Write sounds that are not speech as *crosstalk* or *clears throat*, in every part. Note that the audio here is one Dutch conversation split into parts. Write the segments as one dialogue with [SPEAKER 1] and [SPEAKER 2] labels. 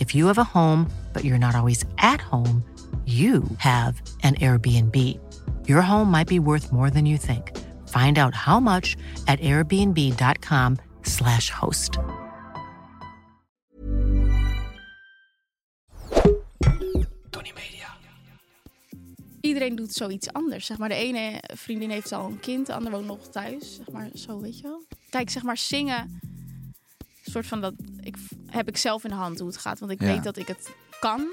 [SPEAKER 1] If you have a home, but you're not always at home, you have an Airbnb. Your home might be worth more than you think. Find out how much at airbnb.com/slash host.
[SPEAKER 2] iedereen doet zoiets anders. Zeg maar, de ene vriendin heeft al een kind, de ander woont nog thuis. Zeg maar, zo weet je wel. Kijk, zeg maar, zingen. Een soort van dat ik, heb ik zelf in de hand hoe het gaat. Want ik
[SPEAKER 3] Ja.
[SPEAKER 2] weet dat ik het kan.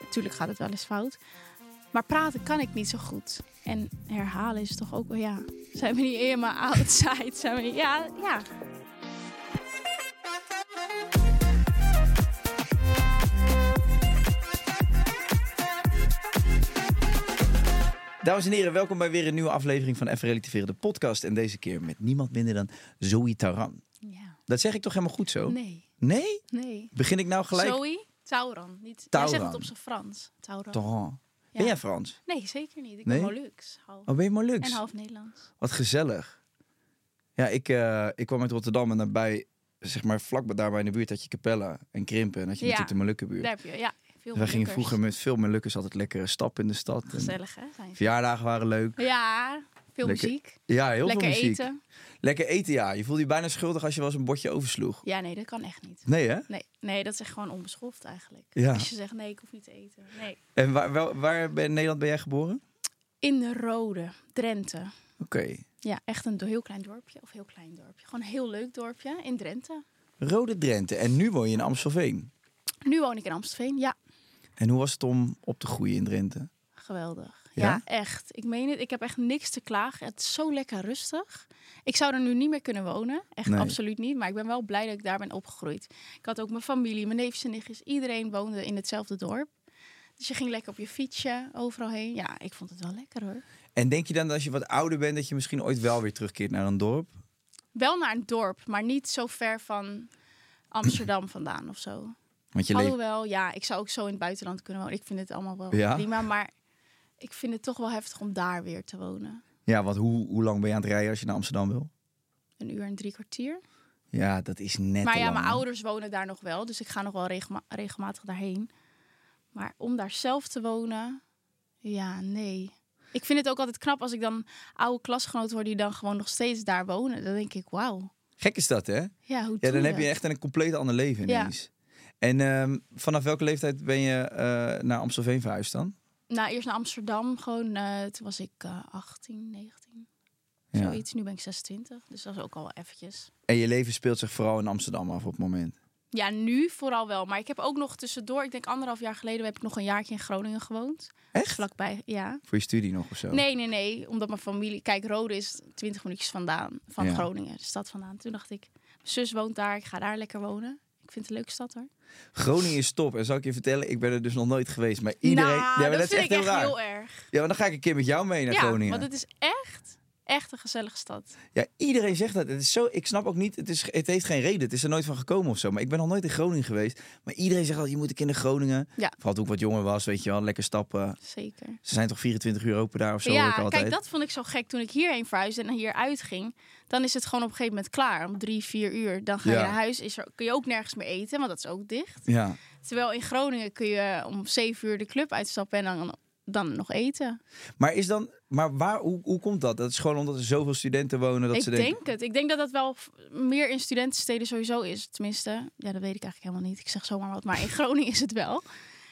[SPEAKER 2] Natuurlijk gaat het wel eens fout. Maar praten kan ik niet zo goed. En herhalen is toch ook wel, ja. Zijn we niet helemaal outside? Zijn we niet, ja, ja.
[SPEAKER 3] Dames en heren, welkom bij weer een nieuwe aflevering van Even Relativeren, de podcast. En deze keer met niemand minder dan Zoe Taran.
[SPEAKER 2] ja.
[SPEAKER 3] Dat zeg ik toch helemaal goed zo?
[SPEAKER 2] Nee,
[SPEAKER 3] Nee?
[SPEAKER 2] nee.
[SPEAKER 3] Begin ik nou Oh. gelijk?
[SPEAKER 2] Zoe, Tauran. Niet, Jij zegt
[SPEAKER 3] Tauran.
[SPEAKER 2] het op zijn Frans. Tauran.
[SPEAKER 3] Taran.
[SPEAKER 2] Ja.
[SPEAKER 3] Ben jij Frans?
[SPEAKER 2] Nee, zeker niet. Ik
[SPEAKER 3] Nee?
[SPEAKER 2] ben Molux. Half.
[SPEAKER 3] Oh, ben je Molux?
[SPEAKER 2] En half Nederlands.
[SPEAKER 3] Wat gezellig. Ja, ik, eh, ik kwam uit Rotterdam en daarbij, zeg maar vlakbij daarbij in de buurt had je Capella en Krimpen. En had je
[SPEAKER 2] Ja.
[SPEAKER 3] natuurlijk de Molukkenbuurt.
[SPEAKER 2] Daar heb je, ja. Veel
[SPEAKER 3] Wij gingen
[SPEAKER 2] drukkers.
[SPEAKER 3] vroeger met veel Molukkers altijd lekkere stappen in de stad. En
[SPEAKER 2] Gezellig, hè? Zijn ze.
[SPEAKER 3] verjaardagen waren leuk.
[SPEAKER 2] Ja, veel
[SPEAKER 3] Lekker-
[SPEAKER 2] muziek.
[SPEAKER 3] Ja, heel
[SPEAKER 2] Lekker
[SPEAKER 3] veel muziek.
[SPEAKER 2] eten.
[SPEAKER 3] Lekker eten, ja. Je voelde je bijna schuldig als je wel eens een bordje oversloeg.
[SPEAKER 2] Ja, nee, dat kan echt niet.
[SPEAKER 3] Nee, hè?
[SPEAKER 2] Nee, nee dat is echt gewoon onbeschoft eigenlijk.
[SPEAKER 3] Ja.
[SPEAKER 2] Als je zegt, nee, ik hoef niet te eten. Nee.
[SPEAKER 3] En waar, wel- waar ben- in Nederland ben jij geboren?
[SPEAKER 2] In de Rode, Drenthe.
[SPEAKER 3] Oké.
[SPEAKER 2] Ja, echt een do- heel klein dorpje. Of heel klein dorpje. Gewoon een heel leuk dorpje in Drenthe.
[SPEAKER 3] Rode Drenthe. En nu woon je in Amstelveen.
[SPEAKER 2] Nu woon ik in Amstelveen. Ja,
[SPEAKER 3] En hoe was het om op te groeien in Drenthe?
[SPEAKER 2] geweldig.
[SPEAKER 3] Ja?
[SPEAKER 2] Ja? echt. Ik meen het. Ik heb echt niks te klagen. Het is zo lekker rustig. Ik zou er nu niet meer kunnen wonen. Echt
[SPEAKER 3] Nee.
[SPEAKER 2] absoluut niet. Maar ik ben wel blij dat ik daar ben opgegroeid. Ik had ook mijn familie, mijn neefjes en nichtjes. Iedereen woonde in hetzelfde dorp. Dus je ging lekker op je fietsje overal heen. Ja, ik vond het wel lekker hoor.
[SPEAKER 3] En denk je dan dat als je wat ouder bent, dat je misschien ooit wel weer terugkeert naar een dorp?
[SPEAKER 2] Wel naar een dorp, maar niet zo ver van Amsterdam *clears throat* vandaan of zo.
[SPEAKER 3] Want je leeft...
[SPEAKER 2] Alhoewel, ja, ik zou ook zo in het buitenland kunnen wonen. Ik vind het allemaal wel
[SPEAKER 3] Ja?
[SPEAKER 2] prima, maar ik vind het toch wel heftig om daar weer te wonen.
[SPEAKER 3] Ja, want hoe, hoe lang ben je aan het rijden als je naar Amsterdam wil?
[SPEAKER 2] Een uur en drie kwartier.
[SPEAKER 3] Ja, dat is net
[SPEAKER 2] maar
[SPEAKER 3] te
[SPEAKER 2] ja,
[SPEAKER 3] lang,
[SPEAKER 2] mijn
[SPEAKER 3] hè?
[SPEAKER 2] ouders wonen daar nog wel, dus ik ga nog wel regelma- regelmatig daarheen. Maar om daar zelf te wonen, ja, nee. Ik vind het ook altijd knap als ik dan oude klasgenoten hoor die dan gewoon nog steeds daar wonen. Dan denk ik, wauw.
[SPEAKER 3] Gek is dat, hè?
[SPEAKER 2] Ja, hoe
[SPEAKER 3] Ja,
[SPEAKER 2] doe
[SPEAKER 3] dan
[SPEAKER 2] je
[SPEAKER 3] heb je
[SPEAKER 2] dat?
[SPEAKER 3] echt een compleet ander leven
[SPEAKER 2] Ja.
[SPEAKER 3] ineens. En ehm, vanaf welke leeftijd ben je eh, naar Amstelveen verhuisd dan?
[SPEAKER 2] Nou, eerst naar Amsterdam, gewoon, eh, toen was ik eh, 18, 19,
[SPEAKER 3] Ja.
[SPEAKER 2] zoiets. Nu ben ik 26, dus dat is ook al eventjes.
[SPEAKER 3] En je leven speelt zich vooral in Amsterdam af op het moment.
[SPEAKER 2] Ja, nu vooral wel. Maar ik heb ook nog tussendoor, ik denk anderhalf jaar geleden, heb ik nog een jaartje in Groningen gewoond.
[SPEAKER 3] Echt?
[SPEAKER 2] Vlakbij, ja.
[SPEAKER 3] Voor je studie nog of zo?
[SPEAKER 2] Nee, nee, nee. Omdat mijn familie... Kijk, Rode is 20 minuutjes vandaan. Van
[SPEAKER 3] Ja.
[SPEAKER 2] Groningen, de stad vandaan. Toen dacht ik, mijn zus woont daar. Ik ga daar lekker wonen. Ik vind het een leuke stad hoor.
[SPEAKER 3] Groningen is top. En zal ik je vertellen, ik ben er dus nog nooit geweest. Maar iedereen...
[SPEAKER 2] Nou,
[SPEAKER 3] ja, maar
[SPEAKER 2] dat,
[SPEAKER 3] is
[SPEAKER 2] vind ik
[SPEAKER 3] heel
[SPEAKER 2] echt
[SPEAKER 3] raar.
[SPEAKER 2] heel erg.
[SPEAKER 3] Ja, maar dan ga ik een keer met jou mee naar
[SPEAKER 2] ja,
[SPEAKER 3] Groningen.
[SPEAKER 2] want het is echt, echt een gezellige stad.
[SPEAKER 3] Ja, iedereen zegt dat. Het is zo, ik snap ook niet, het, is, het heeft geen reden. Het is er nooit van gekomen of zo. Maar ik ben nog nooit in Groningen geweest. Maar iedereen zegt al, je moet een keer naar Groningen.
[SPEAKER 2] Ja.
[SPEAKER 3] Vooral toen ik wat jonger was, weet je wel. Lekker stappen.
[SPEAKER 2] Zeker.
[SPEAKER 3] Ze zijn toch 24 uur open daar of zo, hoor ik
[SPEAKER 2] ja,
[SPEAKER 3] altijd.
[SPEAKER 2] kijk, dat vond ik zo gek toen ik hierheen verhuisde en hieruit ging. Dan is het gewoon op een gegeven moment klaar. Om drie, vier uur. Dan ga je
[SPEAKER 3] Ja.
[SPEAKER 2] naar huis. Is er, kun je ook nergens meer eten, want dat is ook dicht.
[SPEAKER 3] Ja.
[SPEAKER 2] Terwijl in Groningen kun je om zeven uur de club uitstappen en dan, dan nog eten.
[SPEAKER 3] Maar, is dan, maar waar, hoe, hoe komt dat? Dat is gewoon omdat er zoveel studenten wonen dat
[SPEAKER 2] ik
[SPEAKER 3] ze
[SPEAKER 2] denk
[SPEAKER 3] denken...
[SPEAKER 2] het. Ik denk dat dat wel f- meer in *laughs* studentensteden sowieso is. Tenminste, ja, dat weet ik eigenlijk helemaal niet. Ik zeg zomaar wat, maar in Groningen is het wel.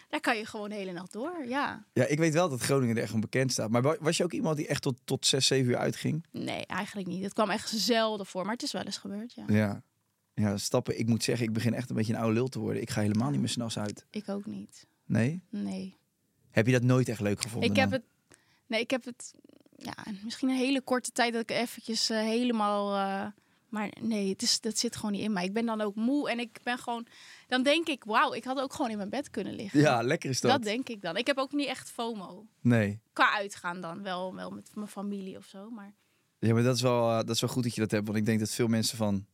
[SPEAKER 2] Daar kan je gewoon de hele nacht door, ja.
[SPEAKER 3] Ja, ik weet wel dat Groningen er echt om bekend staat. Maar wa- was je ook iemand die echt tot, tot 6, 7 uur uitging?
[SPEAKER 2] Nee, eigenlijk niet. Het kwam echt zelden voor, maar het is wel eens gebeurd, ja.
[SPEAKER 3] Ja. Ja, stappen. Ik moet zeggen, ik begin echt een beetje een oude lul te worden. Ik ga helemaal niet meer s'nachts uit.
[SPEAKER 2] Ik ook niet.
[SPEAKER 3] Nee?
[SPEAKER 2] Nee.
[SPEAKER 3] Heb je dat nooit echt leuk gevonden?
[SPEAKER 2] Ik heb
[SPEAKER 3] dan?
[SPEAKER 2] het... Nee, ik heb het... Ja, misschien een hele korte tijd dat ik eventjes eh, helemaal... eh, maar nee, het is, dat zit gewoon niet in mij. Ik ben dan ook moe en ik ben gewoon... Dan denk ik, wauw, ik had ook gewoon in mijn bed kunnen liggen.
[SPEAKER 3] Ja, lekker is dat.
[SPEAKER 2] Dat denk ik dan. Ik heb ook niet echt FOMO.
[SPEAKER 3] Nee.
[SPEAKER 2] Qua uitgaan dan. Wel, wel met mijn familie of zo. Maar
[SPEAKER 3] Ja, maar dat is, wel, eh, dat is wel goed dat je dat hebt. Want ik denk dat veel mensen van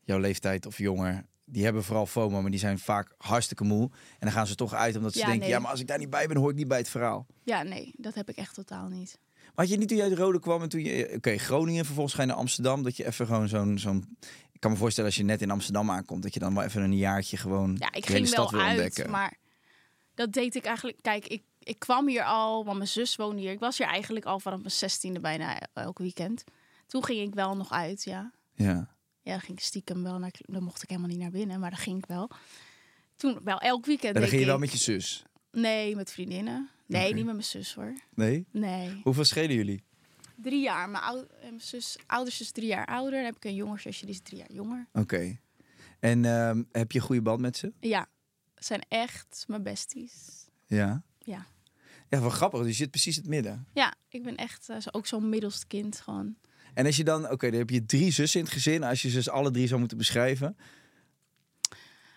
[SPEAKER 3] jouw leeftijd of jonger... die hebben vooral FOMO, maar die zijn vaak hartstikke moe. En dan gaan ze toch uit omdat ze
[SPEAKER 2] Ja,
[SPEAKER 3] denken...
[SPEAKER 2] nee.
[SPEAKER 3] ja, maar als ik daar niet bij ben, hoor ik niet bij het verhaal.
[SPEAKER 2] ja, nee, dat heb ik echt totaal niet.
[SPEAKER 3] Maar had je niet toen je uit Rode kwam en toen je... eh, Oké, Groningen, vervolgens ga je naar Amsterdam. Dat je even gewoon zo'n... zo'n ik kan me voorstellen als je net in Amsterdam aankomt... dat je dan wel even een jaartje gewoon
[SPEAKER 2] Ja, ik
[SPEAKER 3] de hele
[SPEAKER 2] ging
[SPEAKER 3] stad
[SPEAKER 2] wel
[SPEAKER 3] wil
[SPEAKER 2] uit,
[SPEAKER 3] ontdekken.
[SPEAKER 2] maar dat deed ik eigenlijk... Kijk, ik, ik kwam hier al, want mijn zus woonde hier. Ik was hier eigenlijk al vanaf mijn zestiende bijna elk weekend. Toen ging ik wel nog uit, ja.
[SPEAKER 3] Ja.
[SPEAKER 2] Ja, dan ging ik stiekem wel naar... Dan mocht ik helemaal niet naar binnen, maar dan ging ik wel. Toen wel elk weekend
[SPEAKER 3] En dan
[SPEAKER 2] deed
[SPEAKER 3] ging je wel
[SPEAKER 2] ik-
[SPEAKER 3] met je zus.
[SPEAKER 2] Nee, met vriendinnen. Nee,
[SPEAKER 3] Oké.
[SPEAKER 2] niet met mijn zus hoor.
[SPEAKER 3] Nee?
[SPEAKER 2] Nee.
[SPEAKER 3] Hoeveel schelen jullie?
[SPEAKER 2] Drie jaar. Mijn, ou- eh, mijn zus, ouders is drie jaar ouder. Dan heb ik een jonger zusje, die is drie jaar jonger.
[SPEAKER 3] Oké. En ehm, heb je een goede band met ze?
[SPEAKER 2] Ja, het zijn echt mijn besties.
[SPEAKER 3] Ja.
[SPEAKER 2] Ja.
[SPEAKER 3] Ja, wel grappig. Dus je zit precies in het midden.
[SPEAKER 2] Ja, ik ben echt eh, zo- ook zo'n middelste kind gewoon.
[SPEAKER 3] En als je dan... Oké, dan heb je drie zussen in het gezin. Als je zus alle drie zou moeten beschrijven.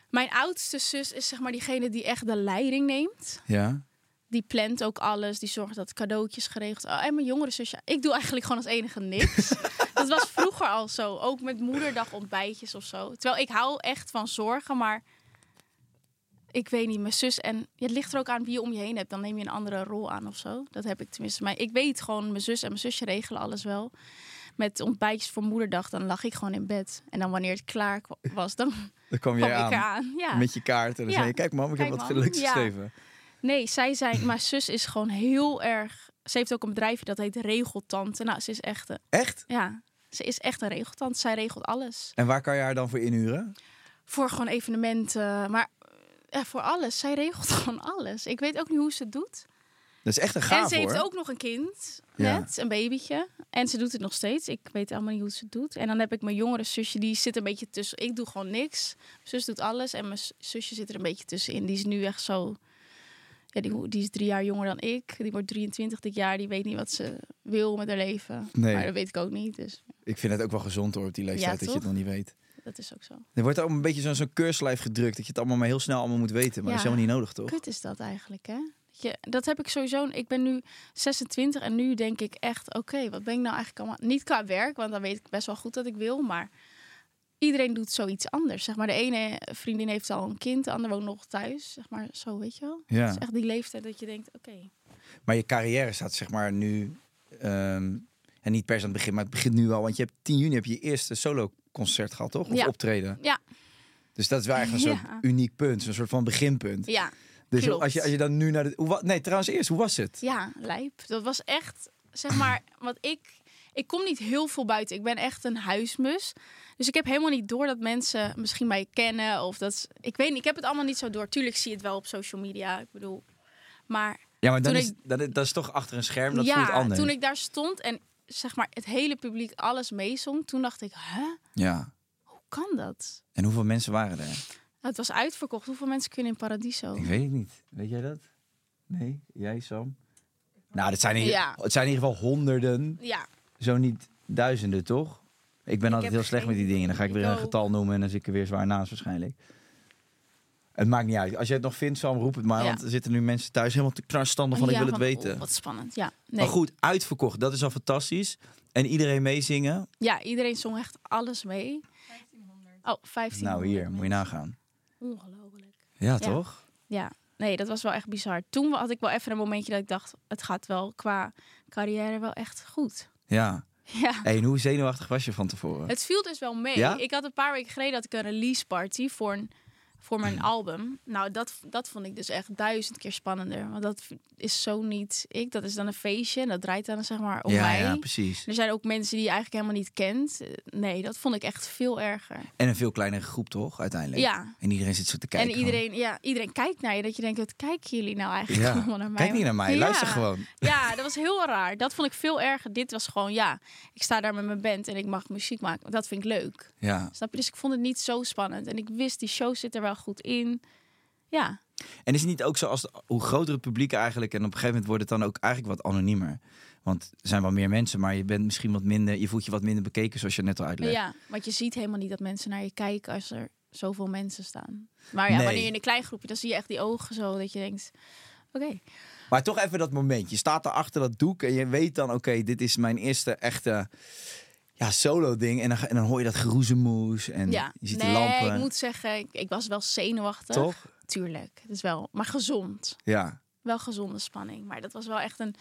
[SPEAKER 2] Mijn oudste zus is zeg maar diegene die echt de leiding neemt.
[SPEAKER 3] Ja.
[SPEAKER 2] Die plant ook alles, die zorgt dat cadeautjes geregeld zijn. Oh, en mijn jongere zusje, ik doe eigenlijk gewoon als enige niks. dat was vroeger al zo, ook met moederdag ontbijtjes of zo. Terwijl ik hou echt van zorgen, maar ik weet niet, mijn zus en ja, het ligt er ook aan wie je om je heen hebt. Dan neem je een andere rol aan of zo. Dat heb ik tenminste. Maar ik weet gewoon, mijn zus en mijn zusje regelen alles wel. Met ontbijtjes voor moederdag, dan lag ik gewoon in bed. En dan wanneer het klaar kwa- was, dan
[SPEAKER 3] Dan kwam jij
[SPEAKER 2] kwam ik
[SPEAKER 3] aan.
[SPEAKER 2] eraan. Ja.
[SPEAKER 3] Met je kaart. En dan
[SPEAKER 2] Ja.
[SPEAKER 3] zei je... Kijk mam, ik
[SPEAKER 2] Kijk,
[SPEAKER 3] heb wat
[SPEAKER 2] mam.
[SPEAKER 3] leuks
[SPEAKER 2] Ja.
[SPEAKER 3] geschreven.
[SPEAKER 2] Nee, zij zijn. Mijn zus is gewoon heel erg. Ze heeft ook een bedrijfje dat heet Regeltante. Nou, ze is echt. eh,
[SPEAKER 3] Echt?
[SPEAKER 2] Ja, ze is echt een regeltante. Zij regelt alles.
[SPEAKER 3] En waar kan je haar dan voor inhuren?
[SPEAKER 2] Voor gewoon evenementen, maar eh, voor alles. Zij regelt *laughs* gewoon alles. Ik weet ook niet hoe ze het doet.
[SPEAKER 3] Dat is echt een gaaf
[SPEAKER 2] en ze
[SPEAKER 3] hoor.
[SPEAKER 2] heeft ook nog een kind.
[SPEAKER 3] Ja.
[SPEAKER 2] Net, een babytje. En ze doet het nog steeds. Ik weet allemaal niet hoe ze het doet. En dan heb ik mijn jongere zusje, die zit een beetje tussen. Ik doe gewoon niks. Mijn zus doet alles. En mijn s- zusje zit er een beetje tussenin. Die is nu echt zo. Ja, die, die is drie jaar jonger dan ik. Die wordt 23 dit jaar. Die weet niet wat ze wil met haar leven.
[SPEAKER 3] Nee.
[SPEAKER 2] Maar dat weet ik ook niet. Dus
[SPEAKER 3] Ik vind het ook wel gezond hoor op die leeftijd
[SPEAKER 2] Ja,
[SPEAKER 3] dat je het
[SPEAKER 2] toch?
[SPEAKER 3] nog niet weet.
[SPEAKER 2] dat is ook zo.
[SPEAKER 3] Er wordt ook een beetje zo'n zo'n keurslijf gedrukt dat je het allemaal maar heel snel allemaal moet weten. Maar dat
[SPEAKER 2] Ja.
[SPEAKER 3] is helemaal niet nodig toch?
[SPEAKER 2] Kut is dat eigenlijk, hè? Dat Je, dat heb ik sowieso. Ik ben nu 26 en nu denk ik echt, oké, wat ben ik nou eigenlijk allemaal? Niet qua werk, want dan weet ik best wel goed dat ik wil, maar iedereen doet zoiets anders. Zeg maar, de ene vriendin heeft al een kind, de ander woont nog thuis. Zeg maar, zo weet je wel.
[SPEAKER 3] Ja.
[SPEAKER 2] Het is echt die leeftijd dat je denkt, oké,
[SPEAKER 3] Maar je carrière staat zeg maar nu, ehm, en niet per se aan het begin, maar het begint nu wel. Want je hebt 10 juni heb je je eerste solo concert gehad toch? Of
[SPEAKER 2] Ja.
[SPEAKER 3] optreden.
[SPEAKER 2] ja,
[SPEAKER 3] Dus dat is wel eigenlijk een soort
[SPEAKER 2] Ja.
[SPEAKER 3] uniek punt, zo'n soort van beginpunt.
[SPEAKER 2] ja,
[SPEAKER 3] dus
[SPEAKER 2] klopt.
[SPEAKER 3] als je, als je dan nu naar de... Hoe, wa- nee, trouwens eerst, hoe was het?
[SPEAKER 2] ja, lijp. Dat was echt, zeg
[SPEAKER 3] *clears throat*
[SPEAKER 2] maar, want ik, ik kom niet heel veel buiten. Ik ben echt een huismus. Dus ik heb helemaal niet door dat mensen misschien mij kennen. Of dat ze- ik weet niet, ik heb het allemaal niet zo door. Tuurlijk zie je het wel op social media. Ik bedoel, maar
[SPEAKER 3] Ja, maar dan
[SPEAKER 2] Toen
[SPEAKER 3] is,
[SPEAKER 2] ik-
[SPEAKER 3] dat, is- dat is toch achter een scherm, dat voelt
[SPEAKER 2] ja,
[SPEAKER 3] anders.
[SPEAKER 2] toen ik daar stond en zeg maar het hele publiek alles meezong, toen dacht ik, hè,
[SPEAKER 3] Ja,
[SPEAKER 2] hoe kan dat?
[SPEAKER 3] en hoeveel mensen waren er?
[SPEAKER 2] Nou, het was uitverkocht. Hoeveel mensen kunnen in Paradiso?
[SPEAKER 3] Ik weet het niet. Weet jij dat? Nee? Jij, Sam? Nou, dat zijn in,
[SPEAKER 2] Ja.
[SPEAKER 3] het zijn in ieder geval honderden,
[SPEAKER 2] Ja,
[SPEAKER 3] zo niet duizenden, toch? Ik ben altijd
[SPEAKER 2] heb
[SPEAKER 3] heel slecht met die
[SPEAKER 2] geen
[SPEAKER 3] dingen. Dan ga ik weer
[SPEAKER 2] idee.
[SPEAKER 3] een
[SPEAKER 2] Ik ook.
[SPEAKER 3] getal noemen en dan zit ik er weer zwaar naast waarschijnlijk. Het maakt niet uit. Als jij het nog vindt, Sam, roep het maar.
[SPEAKER 2] Ja.
[SPEAKER 3] Want er zitten nu mensen thuis helemaal te knarstanden van
[SPEAKER 2] Ja,
[SPEAKER 3] ik wil het
[SPEAKER 2] van,
[SPEAKER 3] weten.
[SPEAKER 2] oh, wat spannend. Ja,
[SPEAKER 3] Maar
[SPEAKER 2] nee.
[SPEAKER 3] goed, uitverkocht. Dat is al fantastisch. En iedereen meezingen.
[SPEAKER 2] ja, iedereen zong echt alles mee. 1500. Oh, 1500.
[SPEAKER 3] Nou, hier, moet
[SPEAKER 2] mensen.
[SPEAKER 3] je nagaan.
[SPEAKER 2] Ongelooflijk.
[SPEAKER 3] Ja,
[SPEAKER 2] Ja.
[SPEAKER 3] toch?
[SPEAKER 2] Ja, nee, dat was wel echt bizar. Toen had ik wel even een momentje dat ik dacht, het gaat wel qua carrière wel echt goed.
[SPEAKER 3] Ja.
[SPEAKER 2] Ja.
[SPEAKER 3] Hey, en hoe zenuwachtig was je van tevoren?
[SPEAKER 2] Het viel dus wel mee.
[SPEAKER 3] Ja?
[SPEAKER 2] Ik had een paar weken geleden dat ik een release party voor een voor
[SPEAKER 3] *clears throat*
[SPEAKER 2] mijn album. Nou, dat, dat vond ik dus echt duizend keer spannender. Want dat is zo niet ik. Dat is dan een feestje en dat draait dan zeg maar om
[SPEAKER 3] ja,
[SPEAKER 2] mij.
[SPEAKER 3] ja, precies.
[SPEAKER 2] er zijn ook mensen die je eigenlijk helemaal niet kent. Eh, Nee, dat vond ik echt veel erger.
[SPEAKER 3] En een veel kleinere groep, toch? Uiteindelijk.
[SPEAKER 2] Ja.
[SPEAKER 3] En iedereen zit zo te kijken.
[SPEAKER 2] en iedereen, ja, iedereen kijkt naar je. Dat je denkt, wat kijken jullie nou
[SPEAKER 3] gewoon.
[SPEAKER 2] eigenlijk
[SPEAKER 3] Ja.
[SPEAKER 2] allemaal naar mij?
[SPEAKER 3] Kijk niet naar mij,
[SPEAKER 2] Ja.
[SPEAKER 3] luister gewoon.
[SPEAKER 2] *laughs*
[SPEAKER 3] *laughs*
[SPEAKER 2] Ja, dat was heel raar. Dat vond ik veel erger. Dit was gewoon, ja, ik sta daar met mijn band en ik mag muziek maken. Dat vind ik leuk.
[SPEAKER 3] Ja.
[SPEAKER 2] Snap je? Dus ik vond het niet zo spannend. En ik wist, die show zit er wel goed in. Ja,
[SPEAKER 3] En is het niet ook zo als de- hoe groter het publiek eigenlijk en op een gegeven moment wordt het dan ook eigenlijk wat anoniemer? Want er zijn wel meer mensen, maar je bent misschien wat minder, je voelt je wat minder bekeken, zoals je net al uitlegde.
[SPEAKER 2] ja, want je ziet helemaal niet dat mensen naar je kijken als er zoveel mensen staan. Maar ja,
[SPEAKER 3] Nee.
[SPEAKER 2] wanneer je in een klein groepje, dan zie je echt die ogen zo. Dat je denkt, oké.
[SPEAKER 3] Maar toch even dat moment. Je staat daar achter dat doek en je weet dan, oké, dit is mijn eerste echte ja, solo ding. En dan, ga- en dan hoor je dat geroezemoes en
[SPEAKER 2] Ja,
[SPEAKER 3] je ziet
[SPEAKER 2] nee,
[SPEAKER 3] de lampen.
[SPEAKER 2] ik moet zeggen, ik, ik was wel zenuwachtig.
[SPEAKER 3] Toch?
[SPEAKER 2] Tuurlijk, het is wel, maar gezond.
[SPEAKER 3] Ja.
[SPEAKER 2] Wel gezonde spanning. Maar dat was wel echt een...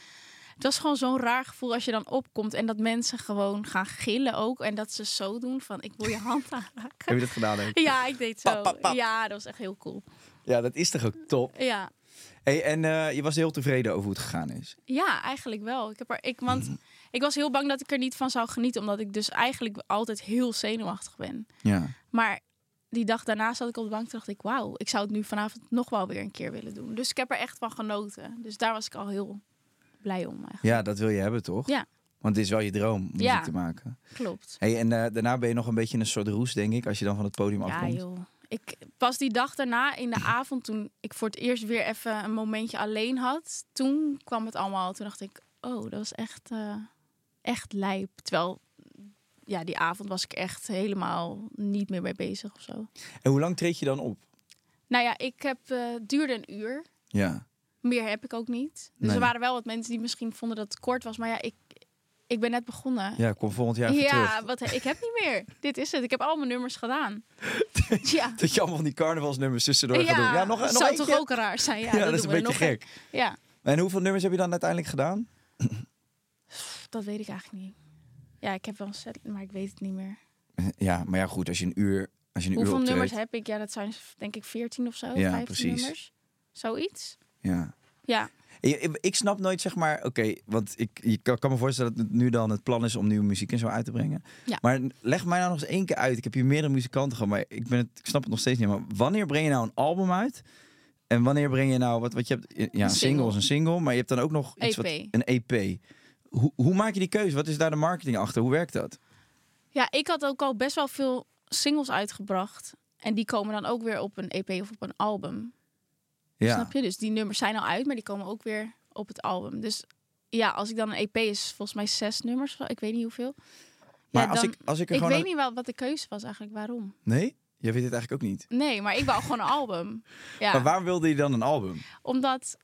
[SPEAKER 2] Het was gewoon zo'n raar gevoel als je dan opkomt en dat mensen gewoon gaan gillen ook. En dat ze zo doen van, ik wil je hand *laughs* aanraken.
[SPEAKER 3] Heb je dat
[SPEAKER 2] *laughs*
[SPEAKER 3] gedaan ook?
[SPEAKER 2] Ja, ik deed zo.
[SPEAKER 3] Pap, pap, pap.
[SPEAKER 2] Ja, dat was echt heel cool.
[SPEAKER 3] Ja, dat is toch ook top.
[SPEAKER 2] Ja,
[SPEAKER 3] Hey, en eh, je was heel tevreden over hoe het gegaan is.
[SPEAKER 2] ja eigenlijk wel. Ik heb er, ik, want
[SPEAKER 3] Mm.
[SPEAKER 2] ik was heel bang dat ik er niet van zou genieten, omdat ik dus eigenlijk altijd heel zenuwachtig ben.
[SPEAKER 3] Ja.
[SPEAKER 2] Maar die dag daarna zat ik op de bank en dacht ik, wauw, ik zou het nu vanavond nog wel weer een keer willen doen. Dus ik heb er echt van genoten. Dus daar was ik al heel blij om eigenlijk.
[SPEAKER 3] ja, dat wil je hebben, toch?
[SPEAKER 2] Ja.
[SPEAKER 3] Want het is wel je droom om muziek
[SPEAKER 2] Ja.
[SPEAKER 3] te maken.
[SPEAKER 2] Klopt.
[SPEAKER 3] Hey, en eh, daarna ben je nog een beetje een soort roes, denk ik, als je dan van het podium
[SPEAKER 2] Ja
[SPEAKER 3] afkomt.
[SPEAKER 2] joh. Ik, pas die dag daarna in de
[SPEAKER 3] *clears throat*
[SPEAKER 2] avond, toen ik voor het eerst weer even een momentje alleen had, toen kwam het allemaal. Toen dacht ik, oh, dat was echt, eh, echt lijp. Terwijl, ja, die avond was ik echt helemaal niet meer mee bezig of zo.
[SPEAKER 3] En hoe lang treed je dan op?
[SPEAKER 2] Nou ja, ik heb, eh, het duurde een uur.
[SPEAKER 3] Ja.
[SPEAKER 2] Meer heb ik ook niet. Dus
[SPEAKER 3] Nee.
[SPEAKER 2] er waren wel wat mensen die misschien vonden dat het kort was. Maar ja, ik, ik ben net begonnen.
[SPEAKER 3] Ja, kom volgend jaar even
[SPEAKER 2] Ja,
[SPEAKER 3] terug.
[SPEAKER 2] wat, ik heb niet meer. Dit is het. Ik heb al mijn nummers
[SPEAKER 3] *laughs*
[SPEAKER 2] gedaan. Ja.
[SPEAKER 3] Dat je allemaal van die carnavalsnummers tussendoor gaat doen. Ja, nog,
[SPEAKER 2] dat
[SPEAKER 3] nog
[SPEAKER 2] zou
[SPEAKER 3] eentje?
[SPEAKER 2] toch ook raar zijn? Ja,
[SPEAKER 3] *laughs* Ja, dat, is
[SPEAKER 2] doen
[SPEAKER 3] een
[SPEAKER 2] we
[SPEAKER 3] beetje
[SPEAKER 2] nog
[SPEAKER 3] gek.
[SPEAKER 2] Ja,
[SPEAKER 3] En hoeveel nummers heb je dan uiteindelijk gedaan?
[SPEAKER 2] dat weet ik eigenlijk niet. Ja, ik heb wel een set, maar ik weet het niet meer.
[SPEAKER 3] Ja, maar ja, goed, als je een uur, als je een
[SPEAKER 2] Hoeveel
[SPEAKER 3] uur optreedt.
[SPEAKER 2] nummers heb ik? Ja, dat zijn denk ik 14 of zo.
[SPEAKER 3] Ja,
[SPEAKER 2] 15
[SPEAKER 3] precies.
[SPEAKER 2] nummers. Zoiets.
[SPEAKER 3] Ja.
[SPEAKER 2] Ja,
[SPEAKER 3] Ik, ik- ik snap nooit, zeg maar, oké, want ik je kan, kan me voorstellen dat het nu dan het plan is om nieuwe muziek en zo uit te brengen.
[SPEAKER 2] Ja.
[SPEAKER 3] Maar leg mij nou nog eens één keer uit. Ik heb hier meerdere muzikanten gehad, maar ik, ben het, ik snap het nog steeds niet. Maar wanneer breng je nou een album uit? En wanneer breng je nou, wat, wat je hebt, ja, een single
[SPEAKER 2] single. E
[SPEAKER 3] is een single, maar je hebt dan ook nog iets wat,
[SPEAKER 2] EP.
[SPEAKER 3] een EP. Hoe, hoe maak je die keuze? Wat is daar de marketing achter? Hoe werkt dat?
[SPEAKER 2] Ja, ik had ook al best wel veel singles uitgebracht. En die komen dan ook weer op een EP of op een album.
[SPEAKER 3] Ja.
[SPEAKER 2] Snap je? Dus die nummers zijn al uit, maar die komen ook weer op het album. Dus ja, als ik dan een EP is, volgens mij zes nummers, of zo, ik weet niet hoeveel.
[SPEAKER 3] Maar
[SPEAKER 2] ja,
[SPEAKER 3] als,
[SPEAKER 2] dan-
[SPEAKER 3] ik, als ik er
[SPEAKER 2] Ik
[SPEAKER 3] gewoon...
[SPEAKER 2] weet
[SPEAKER 3] een-
[SPEAKER 2] niet wel wat de keuze was eigenlijk, waarom.
[SPEAKER 3] Nee? Jij weet het eigenlijk ook niet.
[SPEAKER 2] Nee, maar ik wou gewoon een album. Ja,
[SPEAKER 3] *laughs* Maar waarom wilde je dan een album?
[SPEAKER 2] omdat,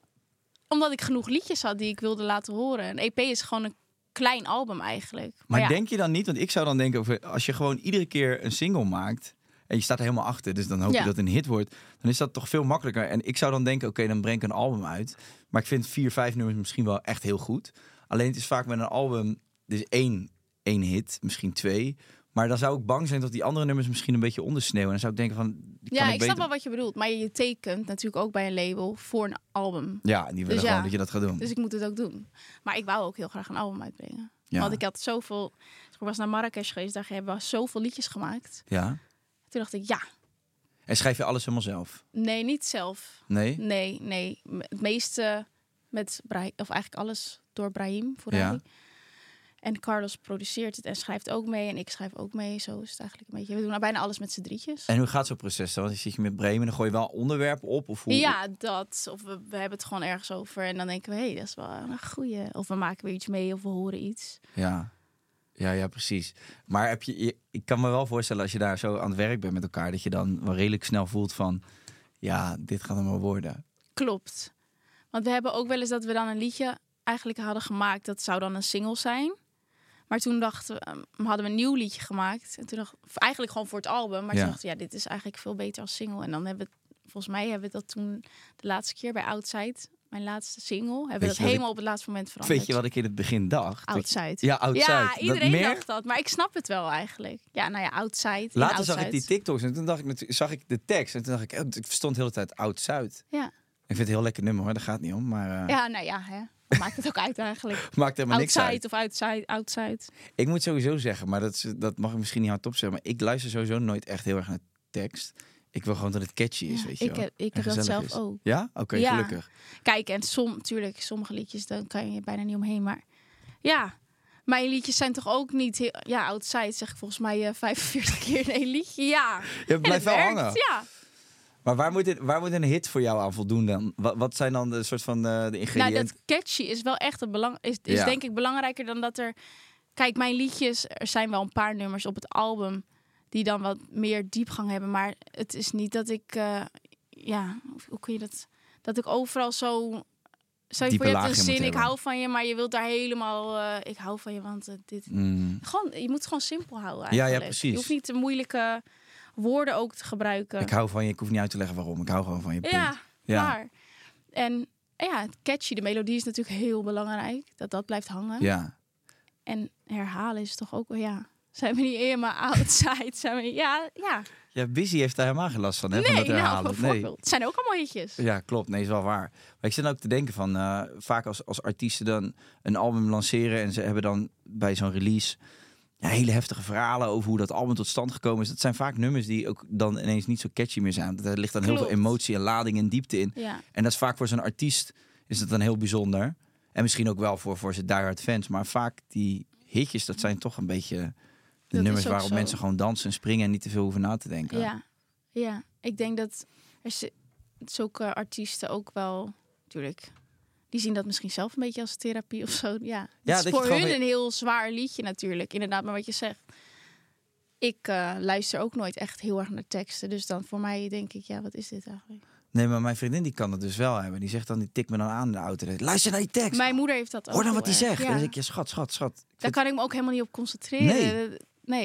[SPEAKER 2] omdat ik genoeg liedjes had die ik wilde laten horen. Een EP is gewoon een klein album eigenlijk. Maar,
[SPEAKER 3] Maar
[SPEAKER 2] ja,
[SPEAKER 3] denk je dan niet, want ik zou dan denken, over- als je gewoon iedere keer een single maakt en je staat er helemaal achter, dus dan hoop je
[SPEAKER 2] Ja.
[SPEAKER 3] dat het een hit wordt, dan is dat toch veel makkelijker. En ik zou dan denken, oké, dan breng ik een album uit. Maar ik vind vier, vijf nummers misschien wel echt heel goed. Alleen het is vaak met een album, dus één, één hit, misschien twee. Maar dan zou ik bang zijn dat die andere nummers misschien een beetje ondersneeuwen. En dan zou ik denken van, die
[SPEAKER 2] ja
[SPEAKER 3] kan
[SPEAKER 2] ik
[SPEAKER 3] ik
[SPEAKER 2] snap wel
[SPEAKER 3] beter...
[SPEAKER 2] wat je bedoelt. Maar je tekent natuurlijk ook bij een label voor een album.
[SPEAKER 3] Ja, en die willen
[SPEAKER 2] Dus
[SPEAKER 3] gewoon
[SPEAKER 2] ja.
[SPEAKER 3] dat je dat gaat doen.
[SPEAKER 2] Dus ik moet het ook doen. Maar ik wou ook heel graag een album uitbrengen.
[SPEAKER 3] Ja.
[SPEAKER 2] Want ik had zoveel... Ik was naar Marrakesh geweest, daar hebben we zoveel liedjes gemaakt.
[SPEAKER 3] Ja.
[SPEAKER 2] Toen dacht ik, ja,
[SPEAKER 3] En schrijf je alles helemaal zelf?
[SPEAKER 2] nee, niet zelf.
[SPEAKER 3] Nee?
[SPEAKER 2] Nee, nee. M- Het meeste met Brahim, of eigenlijk alles door Brahim voor
[SPEAKER 3] Ja.
[SPEAKER 2] En Carlos produceert het en schrijft ook mee. En ik schrijf ook mee. Zo is het eigenlijk een beetje. We doen nou bijna alles met z'n drietjes.
[SPEAKER 3] En hoe gaat zo'n proces dan? Want dan zit je met Bremen, dan gooi je wel onderwerpen op? Of hoe...
[SPEAKER 2] Ja, dat. Of we, we hebben het gewoon ergens over. En dan denken we, hé, dat is wel een goeie. Of we maken weer iets mee of we horen iets.
[SPEAKER 3] Ja. Ja, ja, precies. Maar heb je, je- ik kan me wel voorstellen als je daar zo aan het werk bent met elkaar, dat je dan wel redelijk snel voelt van, ja, dit gaat allemaal worden.
[SPEAKER 2] Klopt. Want we hebben ook wel eens dat we dan een liedje eigenlijk hadden gemaakt. Dat zou dan een single zijn. Maar toen dachten we, ehm, hadden we een nieuw liedje gemaakt. En toen dacht, of eigenlijk gewoon voor het album. Maar
[SPEAKER 3] Ja.
[SPEAKER 2] toen dachten we, ja, dit is eigenlijk veel beter als single. En dan hebben we, volgens mij hebben we dat toen de laatste keer bij Outside Mijn laatste single. Hebben
[SPEAKER 3] je
[SPEAKER 2] we dat
[SPEAKER 3] wat ik-
[SPEAKER 2] helemaal op het laatste moment veranderd.
[SPEAKER 3] Weet je wat ik in het begin dacht? Dat-
[SPEAKER 2] Outside.
[SPEAKER 3] Ja, Outside.
[SPEAKER 2] Ja,
[SPEAKER 3] Dat
[SPEAKER 2] iedereen
[SPEAKER 3] meer-
[SPEAKER 2] dacht dat. Maar ik snap het wel eigenlijk. Ja, nou ja, Outside. en
[SPEAKER 3] Later zag ik
[SPEAKER 2] Outside.
[SPEAKER 3] die TikToks en toen dacht ik, natu- zag ik de tekst. En toen dacht ik, eh, ik verstond de hele tijd Oud-Zuid.
[SPEAKER 2] Ja.
[SPEAKER 3] Ik vind het een heel lekker nummer hoor, daar gaat het niet om. Maar eh,
[SPEAKER 2] ja, nou ja, hè. Wat Maakt het ook uit eigenlijk.
[SPEAKER 3] *laughs* maakt helemaal niks
[SPEAKER 2] Outside
[SPEAKER 3] uit.
[SPEAKER 2] of outside, outside.
[SPEAKER 3] Ik moet sowieso zeggen, maar dat, is, dat mag ik misschien niet hardop zeggen. Maar ik luister sowieso nooit echt heel erg naar tekst. Ik wil gewoon dat het catchy is,
[SPEAKER 2] Ja,
[SPEAKER 3] weet je
[SPEAKER 2] ik
[SPEAKER 3] wel.
[SPEAKER 2] heb- ik
[SPEAKER 3] En
[SPEAKER 2] heb dat
[SPEAKER 3] gezellig
[SPEAKER 2] zelf
[SPEAKER 3] is.
[SPEAKER 2] ook.
[SPEAKER 3] Ja? Oké,
[SPEAKER 2] Ja.
[SPEAKER 3] gelukkig.
[SPEAKER 2] Kijk, en som, natuurlijk, sommige liedjes, dan kan je bijna niet omheen. Maar ja, mijn liedjes zijn toch ook niet heel... Ja, outside zeg ik volgens mij eh, *laughs* 45 keer in één liedje. Ja,
[SPEAKER 3] Je blijft
[SPEAKER 2] En
[SPEAKER 3] wel
[SPEAKER 2] het
[SPEAKER 3] hangen.
[SPEAKER 2] werkt, Ja.
[SPEAKER 3] Maar waar moet, dit, waar moet een hit voor jou aan voldoen dan? Wat, wat zijn dan de soort van eh, de
[SPEAKER 2] Nou,
[SPEAKER 3] ingrediënten?
[SPEAKER 2] dat catchy is wel echt een belang... Is, is
[SPEAKER 3] Ja.
[SPEAKER 2] denk ik belangrijker dan dat er... Kijk, mijn liedjes, er zijn wel een paar nummers op het album... die dan wat meer diepgang hebben. Maar het is niet dat ik... eh, ja, hoe- hoe kun je dat... Dat ik overal zo... Zo
[SPEAKER 3] Diepe
[SPEAKER 2] voor je hebt
[SPEAKER 3] lagen
[SPEAKER 2] een
[SPEAKER 3] moet
[SPEAKER 2] zin, ik
[SPEAKER 3] hebben.
[SPEAKER 2] hou van je, maar je wilt daar helemaal... eh, ik hou van je, want eh, dit...
[SPEAKER 3] Mm.
[SPEAKER 2] Gewoon, je moet het gewoon simpel houden
[SPEAKER 3] ja,
[SPEAKER 2] eigenlijk.
[SPEAKER 3] precies.
[SPEAKER 2] Je hoeft niet de moeilijke woorden ook te gebruiken.
[SPEAKER 3] Ik hou van je, ik hoef niet uit te leggen waarom. Ik hou gewoon van je. punt.
[SPEAKER 2] Ja,
[SPEAKER 3] Ja.
[SPEAKER 2] klaar. En eh, ja, het catchy, de melodie is natuurlijk heel belangrijk. Dat dat blijft hangen.
[SPEAKER 3] ja.
[SPEAKER 2] En herhalen is toch ook, wel, ja... Zijn we niet helemaal outside? Zijn we niet... Ja, ja.
[SPEAKER 3] Ja, Busy heeft daar helemaal geen last van, hè? van
[SPEAKER 2] Nee,
[SPEAKER 3] dat
[SPEAKER 2] nou,
[SPEAKER 3] herhalen.
[SPEAKER 2] bijvoorbeeld. Het zijn ook allemaal hitjes.
[SPEAKER 3] Ja, klopt. Nee, is wel waar. Maar ik zit ook te denken van, eh, vaak als, als artiesten dan een album lanceren en ze hebben dan bij zo'n release ja, hele heftige verhalen over hoe dat album tot stand gekomen is. Dat zijn vaak nummers die ook dan ineens niet zo catchy meer zijn. Daar ligt dan heel veel
[SPEAKER 2] Klopt.
[SPEAKER 3] emotie en lading en diepte in.
[SPEAKER 2] Ja.
[SPEAKER 3] En dat is vaak voor zo'n artiest is dat dan heel bijzonder. En misschien ook wel voor, voor zijn diehard fans. Maar vaak die hitjes, dat zijn toch een beetje de
[SPEAKER 2] is
[SPEAKER 3] nummers
[SPEAKER 2] ook
[SPEAKER 3] waarop
[SPEAKER 2] zo.
[SPEAKER 3] mensen gewoon dansen en springen en niet te veel hoeven na te denken.
[SPEAKER 2] Ja, ja. ik denk dat er zi- zulke artiesten ook wel, natuurlijk, die zien dat misschien zelf een beetje als therapie of zo. Ja, het
[SPEAKER 3] dat je
[SPEAKER 2] is
[SPEAKER 3] het
[SPEAKER 2] voor
[SPEAKER 3] gewoon
[SPEAKER 2] hun
[SPEAKER 3] weer-
[SPEAKER 2] een heel zwaar liedje natuurlijk, inderdaad, maar wat je zegt. Ik eh, luister ook nooit echt heel erg naar teksten, dus dan voor mij denk ik, ja, wat is dit eigenlijk?
[SPEAKER 3] Nee, maar mijn vriendin die kan dat dus wel hebben. Die zegt dan, die tikt me dan aan in de auto. Luister naar die tekst.
[SPEAKER 2] Mijn moeder heeft dat ook.
[SPEAKER 3] Hoor dan
[SPEAKER 2] heel
[SPEAKER 3] wat
[SPEAKER 2] erg,
[SPEAKER 3] hij zegt.
[SPEAKER 2] ja.
[SPEAKER 3] En dan zeg ik, ja, schat, schat, schat. Ik
[SPEAKER 2] Daar
[SPEAKER 3] vind-
[SPEAKER 2] kan ik me ook helemaal niet op concentreren. Nee.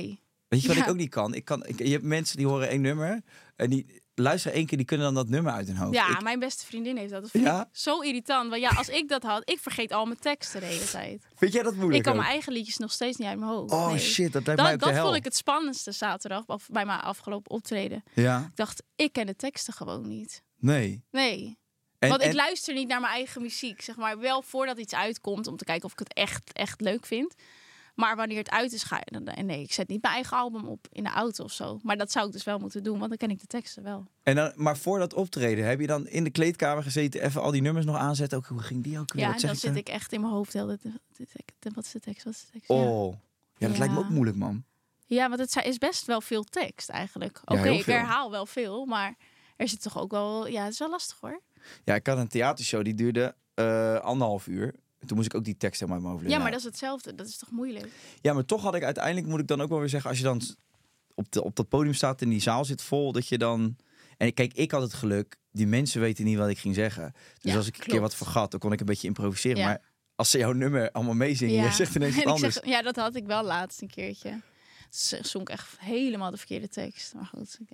[SPEAKER 3] Weet je wat ik
[SPEAKER 2] Ja.
[SPEAKER 3] ook niet kan? Ik kan ik, je hebt mensen die horen één nummer en die luisteren één keer, die kunnen dan dat nummer uit hun hoofd.
[SPEAKER 2] Ja,
[SPEAKER 3] Oh, Ik-
[SPEAKER 2] mijn beste vriendin heeft dat. Dat vind
[SPEAKER 3] Ja?
[SPEAKER 2] ik zo irritant. Want ja, als ik dat had, ik vergeet al mijn teksten de hele tijd.
[SPEAKER 3] vind jij dat moeilijk
[SPEAKER 2] Ik kan
[SPEAKER 3] ook?
[SPEAKER 2] mijn eigen liedjes nog steeds niet uit mijn hoofd.
[SPEAKER 3] Oh
[SPEAKER 2] nee.
[SPEAKER 3] shit, dat lijkt
[SPEAKER 2] Dat,
[SPEAKER 3] mij ook de
[SPEAKER 2] dat
[SPEAKER 3] hel.
[SPEAKER 2] vond ik het spannendste zaterdag of bij mijn afgelopen optreden.
[SPEAKER 3] Ja,
[SPEAKER 2] Ik dacht, ik ken de teksten gewoon niet.
[SPEAKER 3] nee.
[SPEAKER 2] Nee.
[SPEAKER 3] En,
[SPEAKER 2] Want ik
[SPEAKER 3] en-
[SPEAKER 2] luister niet naar mijn eigen muziek. Zeg maar wel voordat iets uitkomt om te kijken of ik het echt, echt leuk vind. Maar wanneer het uit is, ga je dan. en Nee, ik zet niet mijn eigen album op in de auto of zo. Maar dat zou ik dus wel moeten doen, want dan ken ik de teksten wel.
[SPEAKER 3] en dan, maar voor dat optreden, heb je dan in de kleedkamer gezeten, even al die nummers nog aanzetten? Ook, hoe ging die ook? weer?
[SPEAKER 2] ja,
[SPEAKER 3] Wat
[SPEAKER 2] en
[SPEAKER 3] zeg
[SPEAKER 2] dan zit
[SPEAKER 3] daar?
[SPEAKER 2] ik echt in mijn hoofd. Heel, de- de- de- wat is de tekst? Wat is de tekst? Ja.
[SPEAKER 3] Oh, ja, dat lijkt me
[SPEAKER 2] Ja.
[SPEAKER 3] ook moeilijk, man.
[SPEAKER 2] Ja, want het zijn- is best wel veel tekst eigenlijk. Oké,
[SPEAKER 3] Ja, heel
[SPEAKER 2] ik
[SPEAKER 3] veel.
[SPEAKER 2] herhaal wel veel, maar er zit toch ook wel... Ja, het is wel lastig hoor.
[SPEAKER 3] Ja, ik had een theatershow, die duurde eh, anderhalf uur. Toen moest ik ook die tekst helemaal uit mijn hoofd
[SPEAKER 2] Ja,
[SPEAKER 3] leren.
[SPEAKER 2] maar dat is hetzelfde. Dat is toch moeilijk?
[SPEAKER 3] Ja, maar toch had ik uiteindelijk, moet ik dan ook wel weer zeggen, als je dan s- op, de, op dat podium staat en die zaal zit vol, dat je dan. En kijk, ik had het geluk, die mensen weten niet wat ik ging zeggen. Dus
[SPEAKER 2] Ja,
[SPEAKER 3] als ik een keer
[SPEAKER 2] klopt.
[SPEAKER 3] wat vergat, dan kon ik een beetje improviseren.
[SPEAKER 2] Ja.
[SPEAKER 3] Maar als ze jouw nummer allemaal meezingen, jij zegt
[SPEAKER 2] En
[SPEAKER 3] ineens
[SPEAKER 2] *laughs*
[SPEAKER 3] wat
[SPEAKER 2] ik
[SPEAKER 3] anders.
[SPEAKER 2] zeg- ja, dat had ik wel laatst een keertje. Ze zong echt helemaal de verkeerde tekst. Maar goed, ja.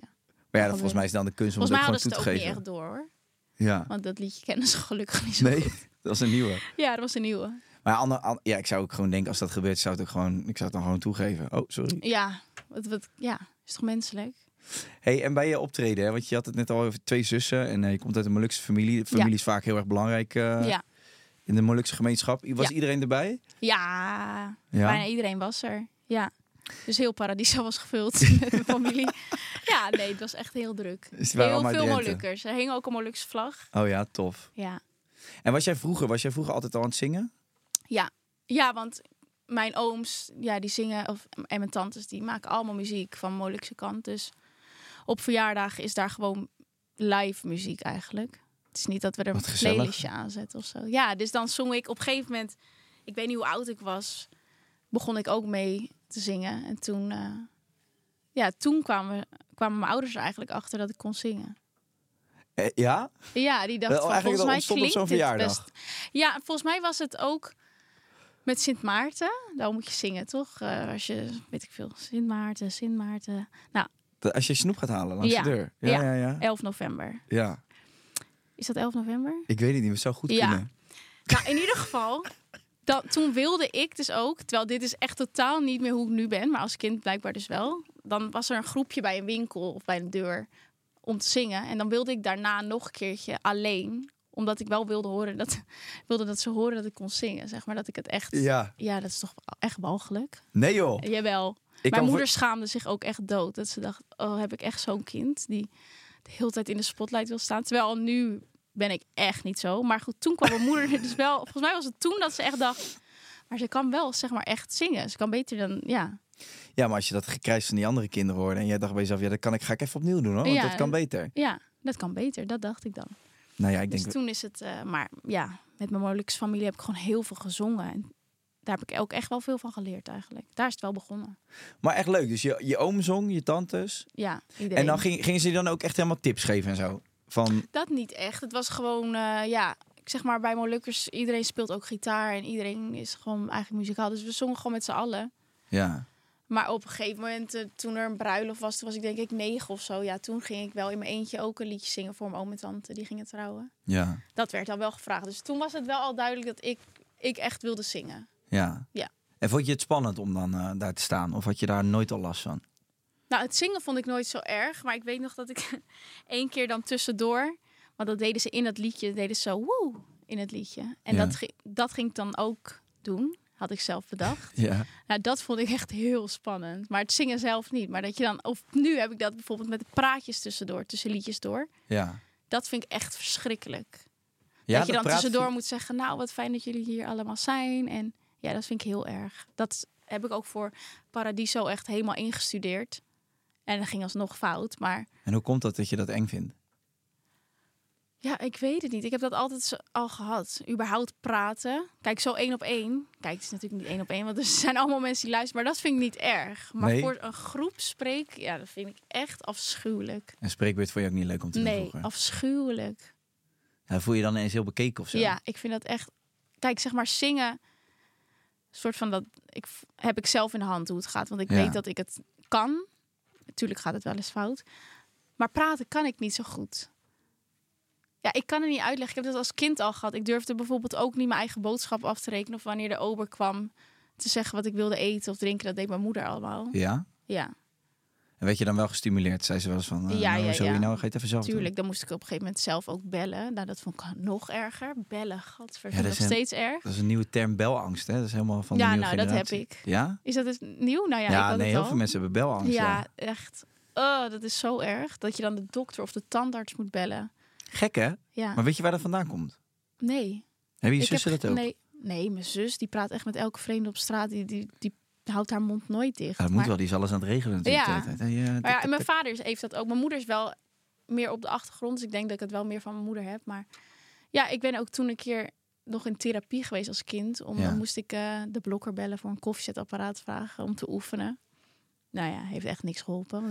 [SPEAKER 3] maar ja, dat, volgens mij is dan de kunst om
[SPEAKER 2] Volgens mij
[SPEAKER 3] dat gewoon
[SPEAKER 2] hadden ze
[SPEAKER 3] toe
[SPEAKER 2] het
[SPEAKER 3] te
[SPEAKER 2] ook
[SPEAKER 3] geven.
[SPEAKER 2] niet echt door hoor.
[SPEAKER 3] Ja.
[SPEAKER 2] Want dat liedje kennen ze gelukkig *laughs* niet zo
[SPEAKER 3] Nee,
[SPEAKER 2] goed.
[SPEAKER 3] dat is een nieuwe.
[SPEAKER 2] Ja, dat was een nieuwe.
[SPEAKER 3] Maar ander, an- ja, ik zou ook gewoon denken, als dat gebeurt, zou het ook gewoon, ik zou het dan gewoon toegeven. Oh, sorry.
[SPEAKER 2] Ja, wat, wat, ja, is toch menselijk?
[SPEAKER 3] Hey, en bij je optreden, hè? want je had het net al over twee zussen en eh, je komt uit een Molukse familie. Familie
[SPEAKER 2] Ja.
[SPEAKER 3] is vaak heel erg belangrijk eh,
[SPEAKER 2] ja.
[SPEAKER 3] in de Molukse gemeenschap. Was
[SPEAKER 2] Ja.
[SPEAKER 3] iedereen erbij?
[SPEAKER 2] Ja,
[SPEAKER 3] Ja?
[SPEAKER 2] bijna iedereen was er. Ja. Dus heel Paradiso was
[SPEAKER 3] *laughs*
[SPEAKER 2] gevuld met mijn familie. Ja, nee, het was echt heel druk.
[SPEAKER 3] Dus die waren
[SPEAKER 2] Heel
[SPEAKER 3] allemaal uit
[SPEAKER 2] veel
[SPEAKER 3] Drenthe.
[SPEAKER 2] Molukkers. Er hing ook een Molukse vlag.
[SPEAKER 3] Oh ja, tof.
[SPEAKER 2] Ja.
[SPEAKER 3] En was jij vroeger, was jij vroeger altijd al aan het zingen?
[SPEAKER 2] Ja. ja, want mijn ooms ja, die zingen, of, en mijn tantes, die maken allemaal muziek van Molukse kant. Dus op verjaardagen is daar gewoon live muziek eigenlijk. Het is niet dat we er
[SPEAKER 3] Wat
[SPEAKER 2] een
[SPEAKER 3] gezellig.
[SPEAKER 2] playlistje aanzetten of zo. Ja, dus dan zong ik op een gegeven moment, ik weet niet hoe oud ik was, begon ik ook mee te zingen. En toen, eh, ja, toen kwamen, kwamen mijn ouders er eigenlijk achter dat ik kon zingen.
[SPEAKER 3] Eh, ja?
[SPEAKER 2] Ja, die dacht
[SPEAKER 3] Wel,
[SPEAKER 2] van,
[SPEAKER 3] eigenlijk
[SPEAKER 2] volgens
[SPEAKER 3] dat
[SPEAKER 2] mij
[SPEAKER 3] ontstond op
[SPEAKER 2] klinkt
[SPEAKER 3] zo'n
[SPEAKER 2] dit
[SPEAKER 3] verjaardag.
[SPEAKER 2] best. Ja, volgens mij was het ook met Sint Maarten. Daarom moet je zingen, toch? Eh, als je, weet ik veel, Sint Maarten, Sint Maarten. Nou,
[SPEAKER 3] Dat Als je snoep gaat halen langs
[SPEAKER 2] Ja.
[SPEAKER 3] de deur. Ja,
[SPEAKER 2] Ja.
[SPEAKER 3] ja, ja.
[SPEAKER 2] 11 november.
[SPEAKER 3] ja.
[SPEAKER 2] Is dat 11 november?
[SPEAKER 3] Ik weet het niet, maar het zou goed
[SPEAKER 2] Ja.
[SPEAKER 3] kunnen.
[SPEAKER 2] Nou, in ieder geval, dan, toen wilde ik dus ook, terwijl dit is echt totaal niet meer hoe ik nu ben, maar als kind blijkbaar dus wel. Dan was er een groepje bij een winkel of bij een deur om te zingen. En dan wilde ik daarna nog een keertje alleen, omdat ik wel wilde horen dat, wilde dat ze horen dat ik kon zingen, zeg maar. Dat ik het echt...
[SPEAKER 3] Ja.
[SPEAKER 2] Ja, dat is toch echt walgelijk.
[SPEAKER 3] Nee joh.
[SPEAKER 2] Jawel.
[SPEAKER 3] Ik kan
[SPEAKER 2] Mijn
[SPEAKER 3] voor-
[SPEAKER 2] moeder schaamde zich ook echt dood. Dat ze dacht, oh, heb ik echt zo'n kind die de hele tijd in de spotlight wil staan. Terwijl nu ben ik echt niet zo. Maar goed, toen kwam mijn moeder er dus wel... Volgens mij was het toen dat ze echt dacht... Maar ze kan wel, zeg maar, echt zingen. Ze kan beter dan... Ja,
[SPEAKER 3] Ja, maar als je dat gekrijs van die andere kinderen hoorde en jij dacht bij jezelf, ja, dat kan ik, ga ik even opnieuw doen hoor, want
[SPEAKER 2] Ja.
[SPEAKER 3] dat kan beter.
[SPEAKER 2] ja dat kan beter. Dat dacht ik dan.
[SPEAKER 3] Nou ja, ik
[SPEAKER 2] Dus
[SPEAKER 3] denk,
[SPEAKER 2] toen is het... eh, maar ja, met mijn moeilijkste familie heb ik gewoon heel veel gezongen. En daar heb ik ook echt wel veel van geleerd eigenlijk. Daar is het wel begonnen.
[SPEAKER 3] maar echt leuk. Dus je, je oom zong, je tantes.
[SPEAKER 2] Ja, iedereen.
[SPEAKER 3] En dan ging, gingen ze je dan ook echt helemaal tips geven en zo. Van,
[SPEAKER 2] Dat niet echt. Het was gewoon, eh, ja, ik zeg maar bij Molukkers, iedereen speelt ook gitaar en iedereen is gewoon eigenlijk muzikaal. Dus we zongen gewoon met z'n allen.
[SPEAKER 3] ja.
[SPEAKER 2] Maar op een gegeven moment, eh, toen er een bruiloft was, toen was ik denk ik negen of zo. Ja, toen ging ik wel in mijn eentje ook een liedje zingen voor mijn oom en tante. Die gingen trouwen.
[SPEAKER 3] Ja.
[SPEAKER 2] Dat werd dan wel gevraagd. Dus toen was het wel al duidelijk dat ik, ik echt wilde zingen.
[SPEAKER 3] Ja.
[SPEAKER 2] Ja.
[SPEAKER 3] En vond je het spannend om dan eh, daar te staan? Of had je daar nooit al last van?
[SPEAKER 2] Nou, het zingen vond ik nooit zo erg. Maar ik weet nog dat ik *laughs* één keer dan tussendoor... Want dat deden ze in dat liedje. deden ze zo woe in het liedje. En
[SPEAKER 3] Ja.
[SPEAKER 2] dat, ging, dat ging ik dan ook doen. Had ik zelf
[SPEAKER 3] *laughs*
[SPEAKER 2] bedacht.
[SPEAKER 3] Ja.
[SPEAKER 2] Nou, dat vond ik echt heel spannend. Maar het zingen zelf niet. Maar dat je dan... Of nu heb ik dat bijvoorbeeld met de praatjes tussendoor. Tussen liedjes door.
[SPEAKER 3] Ja.
[SPEAKER 2] Dat vind ik echt verschrikkelijk.
[SPEAKER 3] ja
[SPEAKER 2] dat je dan
[SPEAKER 3] praat-
[SPEAKER 2] tussendoor moet zeggen... Nou, wat fijn dat jullie hier allemaal zijn. En ja, dat vind ik heel erg. Dat heb ik ook voor Paradiso echt helemaal ingestudeerd. En dat ging alsnog fout, maar...
[SPEAKER 3] En hoe komt dat dat je dat eng vindt?
[SPEAKER 2] Ja, ik weet het niet. Ik heb dat altijd zo- al gehad. Überhaupt praten. Kijk, zo één op één. Kijk, het is natuurlijk niet één op één, want er *laughs* zijn allemaal mensen die luisteren. Maar dat vind ik niet erg. Maar
[SPEAKER 3] Nee.
[SPEAKER 2] voor een groep spreek, ja, dat vind ik echt afschuwelijk.
[SPEAKER 3] En spreekbeurt vond je ook niet leuk om te doen
[SPEAKER 2] Nee,
[SPEAKER 3] vroeger?
[SPEAKER 2] afschuwelijk.
[SPEAKER 3] Ja, voel je dan eens heel bekeken of zo?
[SPEAKER 2] Ja, ik vind dat echt. Kijk, zeg maar zingen. Soort van dat. Ik v- heb ik zelf in de hand hoe het gaat, want ik
[SPEAKER 3] Ja.
[SPEAKER 2] weet dat ik het kan. Natuurlijk gaat het wel eens fout. Maar praten kan ik niet zo goed. Ja, ik kan het niet uitleggen. Ik heb dat als kind al gehad. Ik durfde bijvoorbeeld ook niet mijn eigen boodschap af te rekenen. Of wanneer de ober kwam te zeggen wat ik wilde eten of drinken. Dat deed mijn moeder allemaal.
[SPEAKER 3] Ja?
[SPEAKER 2] Ja,
[SPEAKER 3] En werd je dan wel gestimuleerd? Zei ze wel eens van, eh,
[SPEAKER 2] Ja,
[SPEAKER 3] nou,
[SPEAKER 2] ja,
[SPEAKER 3] zo,
[SPEAKER 2] ja.
[SPEAKER 3] nou ga je het even zelf doen.
[SPEAKER 2] tuurlijk. Dan moest ik op een gegeven moment zelf ook bellen. Nou, dat vond ik nog erger. Bellen, gadver. vind ik
[SPEAKER 3] Ja, dat
[SPEAKER 2] nog
[SPEAKER 3] is een-
[SPEAKER 2] steeds erg.
[SPEAKER 3] Dat is een nieuwe term, belangst. Hè? Dat is helemaal van
[SPEAKER 2] Ja,
[SPEAKER 3] de nieuwe
[SPEAKER 2] nou, dat heb
[SPEAKER 3] generatie.
[SPEAKER 2] ik.
[SPEAKER 3] Ja?
[SPEAKER 2] Is dat dus nieuw? Nou ja,
[SPEAKER 3] Ja,
[SPEAKER 2] ik had
[SPEAKER 3] nee,
[SPEAKER 2] het
[SPEAKER 3] heel
[SPEAKER 2] al.
[SPEAKER 3] veel mensen hebben belangst. Ja.
[SPEAKER 2] Ja, echt. Oh, dat is zo erg. Dat je dan de dokter of de tandarts moet bellen.
[SPEAKER 3] Gek hè?
[SPEAKER 2] Ja,
[SPEAKER 3] Maar weet je waar dat vandaan komt?
[SPEAKER 2] nee.
[SPEAKER 3] Hebben je
[SPEAKER 2] Ik heb
[SPEAKER 3] zussen dat
[SPEAKER 2] ge-
[SPEAKER 3] ook?
[SPEAKER 2] Nee, nee, mijn zus die praat echt met elke vreemde op straat. Die, die, die houdt haar mond nooit dicht.
[SPEAKER 3] Ja, dat moet
[SPEAKER 2] maar,
[SPEAKER 3] wel, die is alles aan het regelen
[SPEAKER 2] Ja.
[SPEAKER 3] natuurlijk. de hele tijd. Hey, eh, tik,
[SPEAKER 2] maar ja,
[SPEAKER 3] tik,
[SPEAKER 2] en mijn
[SPEAKER 3] tik.
[SPEAKER 2] vader is- heeft dat ook. Mijn moeder is wel meer op de achtergrond. Dus ik denk dat ik het wel meer van mijn moeder heb. Maar ja, ik ben ook toen een keer nog in therapie geweest als kind. Om,
[SPEAKER 3] Ja.
[SPEAKER 2] Dan moest ik eh, de blokker bellen voor een koffiezetapparaat vragen om te oefenen. Nou ja, heeft echt niks geholpen.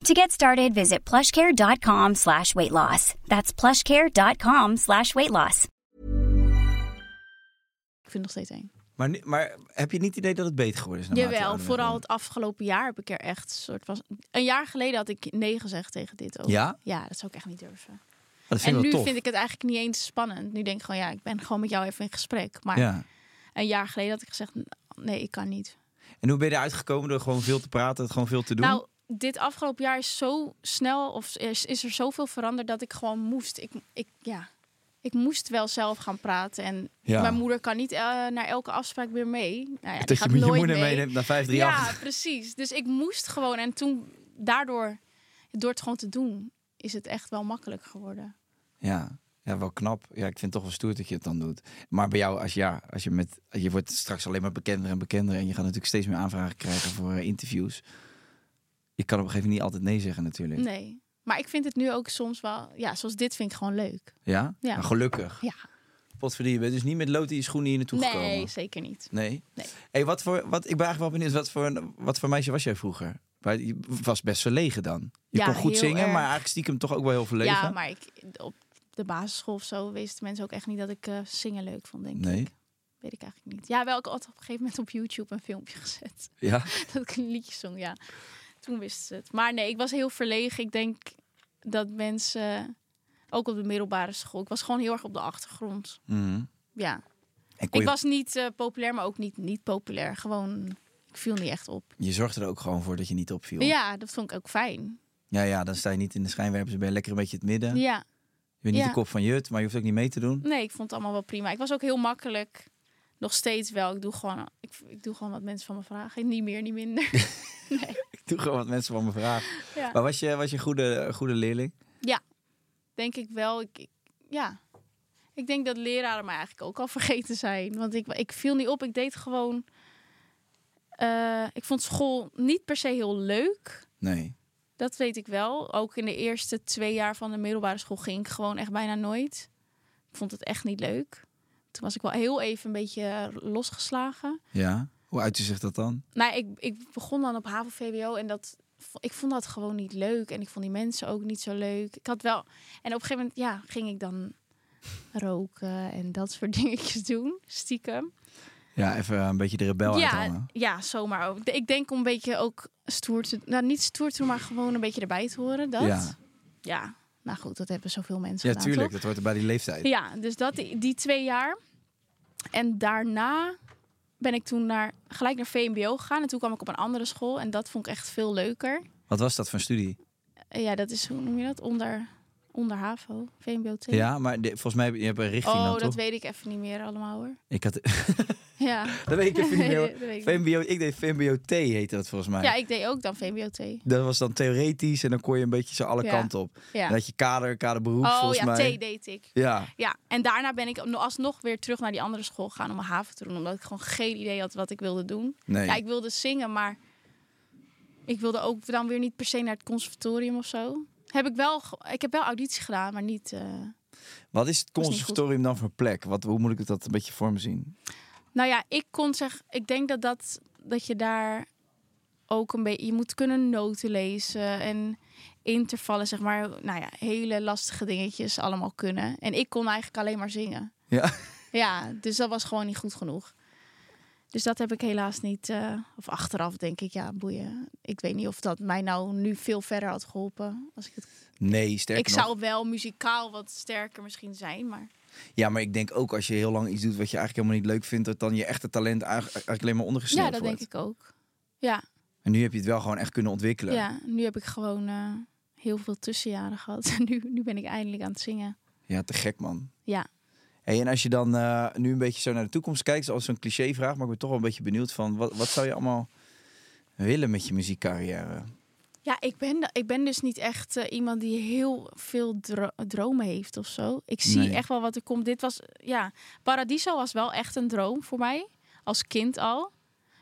[SPEAKER 4] To get started, visit plushcare.com slash weight loss. That's plushcare.com slash weight loss.
[SPEAKER 2] Ik vind het nog steeds eng.
[SPEAKER 3] Maar, nu- maar heb je niet het idee dat het beter geworden is? eh, naarmate je
[SPEAKER 2] Jawel,
[SPEAKER 3] ouder
[SPEAKER 2] vooral
[SPEAKER 3] bent
[SPEAKER 2] het
[SPEAKER 3] Oh,
[SPEAKER 2] afgelopen jaar heb ik er echt soort van. Een jaar geleden had ik nee gezegd tegen dit ook.
[SPEAKER 3] Ja?
[SPEAKER 2] Ja, dat zou ik echt niet durven.
[SPEAKER 3] geworden? Dat vind
[SPEAKER 2] En
[SPEAKER 3] ik
[SPEAKER 2] nu
[SPEAKER 3] wel tof.
[SPEAKER 2] vind ik het eigenlijk niet eens spannend. Nu denk ik gewoon, ja, ik ben gewoon met jou even in gesprek. Maar
[SPEAKER 3] Ja.
[SPEAKER 2] een jaar geleden had ik gezegd, "N- nee, ik kan niet.
[SPEAKER 3] En hoe ben je eruit gekomen door gewoon veel te praten, het gewoon veel te doen?
[SPEAKER 2] Nou, dit afgelopen jaar is zo snel, of is, is er zoveel veranderd dat ik gewoon moest. Ik, ik, ja, ik moest wel zelf gaan praten. En
[SPEAKER 3] Ja.
[SPEAKER 2] mijn moeder kan niet eh, naar elke afspraak meer mee. Nou ja, die
[SPEAKER 3] dat je
[SPEAKER 2] gaat
[SPEAKER 3] met je
[SPEAKER 2] nooit
[SPEAKER 3] moeder
[SPEAKER 2] mee.
[SPEAKER 3] meeneemt naar
[SPEAKER 2] Ja,
[SPEAKER 3] 538.
[SPEAKER 2] precies. Dus ik moest gewoon. En toen, daardoor, door het gewoon te doen, is het echt wel makkelijk geworden.
[SPEAKER 3] Ja. ja, wel knap. Ja, ik vind het toch wel stoer dat je het dan doet. Maar bij jou, als, ja, als je, met, je wordt straks alleen maar bekender en bekender... en je gaat natuurlijk steeds meer aanvragen krijgen voor eh, interviews. Je kan op een gegeven moment niet altijd nee zeggen natuurlijk.
[SPEAKER 2] Nee. Maar ik vind het nu ook soms wel, ja, zoals dit vind ik gewoon leuk.
[SPEAKER 3] Ja?
[SPEAKER 2] Ja.
[SPEAKER 3] Maar gelukkig.
[SPEAKER 2] Ja.
[SPEAKER 3] Potverdie, je bent dus niet met lood in je schoenen hier naartoe
[SPEAKER 2] Nee,
[SPEAKER 3] gekomen.
[SPEAKER 2] zeker niet.
[SPEAKER 3] Nee?
[SPEAKER 2] Nee.
[SPEAKER 3] Hey, wat voor, wat, ik ben eigenlijk wel benieuwd, wat voor, een- wat voor meisje was jij vroeger? Maar je was best verlegen dan. Je
[SPEAKER 2] Ja,
[SPEAKER 3] kon goed
[SPEAKER 2] heel
[SPEAKER 3] zingen,
[SPEAKER 2] erg.
[SPEAKER 3] maar eigenlijk stiekem toch ook wel heel verlegen.
[SPEAKER 2] Ja, maar ik, op de basisschool of zo wisten mensen ook echt niet dat ik eh, zingen leuk vond, denk
[SPEAKER 3] Nee.
[SPEAKER 2] ik. Weet ik eigenlijk niet. Ja, wel, ik had op een gegeven moment op YouTube een filmpje gezet.
[SPEAKER 3] Ja?
[SPEAKER 2] *laughs* dat ik een liedje zong, ja. Toen wisten ze het. Maar nee, ik was heel verlegen. Ik denk dat mensen, ook op de middelbare school... Ik was gewoon heel erg op de achtergrond.
[SPEAKER 3] Mhm.
[SPEAKER 2] Ja.
[SPEAKER 3] En kon
[SPEAKER 2] Ik
[SPEAKER 3] je,
[SPEAKER 2] was niet eh, populair, maar ook niet niet populair. Gewoon, ik viel niet echt op.
[SPEAKER 3] je zorgde er ook gewoon voor dat je niet opviel.
[SPEAKER 2] Ja, dat vond ik ook fijn.
[SPEAKER 3] ja, ja, dan sta je niet in de schijnwerpers, dan ben je lekker een beetje het midden.
[SPEAKER 2] Ja.
[SPEAKER 3] Je bent niet
[SPEAKER 2] Ja.
[SPEAKER 3] de kop van Jut, maar je hoeft ook niet mee te doen. *laughs*
[SPEAKER 2] Nee, ik vond het allemaal wel prima. Ik was ook heel makkelijk. Nog steeds wel. Ik doe gewoon, ik, ik doe gewoon wat mensen van me vragen. Niet meer, niet minder.
[SPEAKER 3] Ik doe gewoon wat mensen van me vragen.
[SPEAKER 2] ja.
[SPEAKER 3] Maar was je, was je een goede, een goede leerling?
[SPEAKER 2] denk ik wel. Ik, ik- ja. Ik denk dat leraren mij eigenlijk ook al *laughs* vergeten zijn. Want ik, ik viel niet op. Ik deed gewoon. eh, ik vond school niet per se heel leuk.
[SPEAKER 3] Nee.
[SPEAKER 2] Dat weet ik wel. Ook in de eerste twee jaar van de middelbare school ging ik gewoon echt bijna nooit. Ik vond het echt niet leuk. Toen was ik wel heel even een beetje eh, losgeslagen.
[SPEAKER 3] Ja? Hoe uitte zich dat dan?
[SPEAKER 2] Nou, ik, ik begon dan op HAVO-VWO en dat, vo- ik vond dat gewoon niet leuk. En ik vond die mensen ook niet zo leuk. Ik had wel... En op een gegeven moment ja, ging ik dan roken en dat soort *laughs* dingetjes doen, stiekem.
[SPEAKER 3] Ja, even een beetje de rebel
[SPEAKER 2] ja,
[SPEAKER 3] uithangen.
[SPEAKER 2] ja, zomaar ook. Ik denk om een beetje ook stoer te... Nou, niet stoer te doen, maar gewoon een beetje erbij te horen. Dat.
[SPEAKER 3] Ja.
[SPEAKER 2] Ja. Nou goed, dat hebben zoveel mensen
[SPEAKER 3] Ja,
[SPEAKER 2] gedaan,
[SPEAKER 3] tuurlijk.
[SPEAKER 2] toch?
[SPEAKER 3] Dat hoort er bij die leeftijd.
[SPEAKER 2] Ja, dus dat, die twee jaar. En daarna ben ik toen naar, gelijk naar VMBO gegaan. En toen kwam ik op een andere school. En dat vond ik echt veel leuker.
[SPEAKER 3] Wat was dat voor een studie?
[SPEAKER 2] Eh, ja, dat is, hoe noem je dat? Onder, onder HAVO, VMBO 2.
[SPEAKER 3] Ja, maar de- volgens mij heb je hebt een richting
[SPEAKER 2] oh,
[SPEAKER 3] dan,
[SPEAKER 2] dat
[SPEAKER 3] toch?
[SPEAKER 2] weet ik even niet meer allemaal hoor.
[SPEAKER 3] Ik had... *laughs*
[SPEAKER 2] Ja.
[SPEAKER 3] dat weet ik
[SPEAKER 2] *laughs*
[SPEAKER 3] even niet meer. hoor.
[SPEAKER 2] Dat weet ik niet.
[SPEAKER 3] VMBO, ik deed VMBO-T heette dat volgens mij.
[SPEAKER 2] ja, ik deed ook dan VMBO 2.
[SPEAKER 3] Dat was dan theoretisch en dan kon je een beetje zo alle
[SPEAKER 2] Ja.
[SPEAKER 3] kanten op.
[SPEAKER 2] Ja.
[SPEAKER 3] Dan had je kader, kaderberoep
[SPEAKER 2] Oh
[SPEAKER 3] volgens
[SPEAKER 2] ja,
[SPEAKER 3] mij.
[SPEAKER 2] T deed ik.
[SPEAKER 3] Ja,
[SPEAKER 2] Ja, en daarna ben ik alsnog weer terug naar die andere school gegaan om mijn haven te doen. Omdat ik gewoon geen idee had wat ik wilde doen.
[SPEAKER 3] nee.
[SPEAKER 2] Ja, ik wilde zingen, maar ik wilde ook dan weer niet per se naar het conservatorium of zo. Heb ik, wel, ge- ik heb wel auditie gedaan, maar niet. eh,
[SPEAKER 3] Wat is het
[SPEAKER 2] niet
[SPEAKER 3] conservatorium dan voor plek? Wat, hoe moet ik dat een beetje voor me zien?
[SPEAKER 2] Nou ja, ik kon zeggen, ik denk dat, dat, dat je daar ook een beetje. Je moet kunnen noten lezen en intervallen, zeg maar. Nou ja, hele lastige dingetjes allemaal kunnen. En ik kon eigenlijk alleen maar zingen.
[SPEAKER 3] Ja. *laughs*
[SPEAKER 2] Ja, dus dat was gewoon niet goed genoeg. Dus dat heb ik helaas niet. eh, of achteraf denk ik, ja, boeien. Ik weet niet of dat mij nou nu veel verder had geholpen. Als ik het
[SPEAKER 3] Nee, sterker
[SPEAKER 2] Ik
[SPEAKER 3] nog.
[SPEAKER 2] zou wel muzikaal wat sterker misschien zijn, maar
[SPEAKER 3] Ja, maar ik denk ook als je heel lang iets doet wat je eigenlijk helemaal niet leuk vindt, dat dan je echte talent eigenlijk eigenlijk alleen maar ondergesneeuwd
[SPEAKER 2] ja, dat
[SPEAKER 3] wordt.
[SPEAKER 2] denk ik ook. Ja,
[SPEAKER 3] En nu heb je het wel gewoon echt kunnen ontwikkelen.
[SPEAKER 2] ja, nu heb ik gewoon eh, heel veel tussenjaren gehad *laughs* en nu, nu ben ik eindelijk aan het zingen.
[SPEAKER 3] Ja, te gek man.
[SPEAKER 2] Ja,
[SPEAKER 3] Hey, en als je dan eh, nu een beetje zo naar de toekomst kijkt, zoals zo'n clichévraag, maar ik ben toch wel een beetje benieuwd van wat, wat zou je allemaal willen met je muziekcarrière?
[SPEAKER 2] ja ik, ben, da- ik ben dus niet echt eh, iemand die heel veel dro- dromen heeft of zo. Ik zie
[SPEAKER 3] Nee.
[SPEAKER 2] echt wel wat er komt. Dit was, ja, Paradiso was wel echt een droom voor mij, als kind al.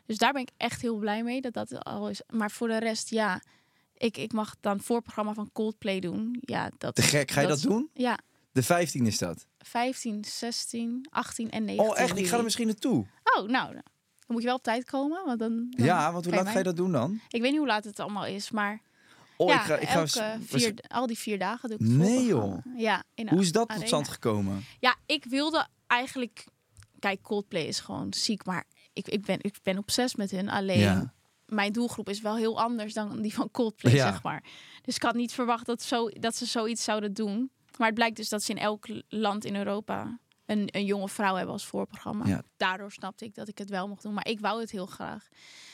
[SPEAKER 2] Dus daar ben ik echt heel blij mee dat dat al is. Maar voor de rest, ja, ik, ik mag dan voorprogramma van Coldplay doen. Ja, dat,
[SPEAKER 3] Te gek, ga je dat,
[SPEAKER 2] is-
[SPEAKER 3] doen?
[SPEAKER 2] Ja,
[SPEAKER 3] De 15 is dat.
[SPEAKER 2] 15, 16, 18 en 19.
[SPEAKER 3] Oh, echt? Ik ga er
[SPEAKER 2] juli.
[SPEAKER 3] misschien naartoe.
[SPEAKER 2] Oh, nou, dan moet je wel op tijd komen. Want dan, dan
[SPEAKER 3] Ja, want hoe
[SPEAKER 2] kan
[SPEAKER 3] laat ga je
[SPEAKER 2] mij-
[SPEAKER 3] dat doen dan?
[SPEAKER 2] Ik weet niet hoe laat het allemaal is, maar
[SPEAKER 3] Oh,
[SPEAKER 2] ja,
[SPEAKER 3] ik ga, ik ga
[SPEAKER 2] elke
[SPEAKER 3] waarsch-
[SPEAKER 2] vier, al die vier dagen doe ik het
[SPEAKER 3] Nee,
[SPEAKER 2] voorprogramma. Ja, in
[SPEAKER 3] Hoe is dat tot
[SPEAKER 2] arena.
[SPEAKER 3] stand gekomen?
[SPEAKER 2] Ja, ik wilde eigenlijk... Kijk, Coldplay is gewoon ziek, maar ik, ik, ben, ik ben obsessief met hun. Alleen,
[SPEAKER 3] Ja.
[SPEAKER 2] mijn doelgroep is wel heel anders dan die van Coldplay,
[SPEAKER 3] Ja.
[SPEAKER 2] zeg maar. Dus ik had niet verwacht dat, zo, dat ze zoiets zouden doen. Maar het blijkt dus dat ze in elk land in Europa een, een jonge vrouw hebben als voorprogramma.
[SPEAKER 3] Ja.
[SPEAKER 2] Daardoor snapte ik dat ik het wel mocht doen, maar ik wou het heel graag.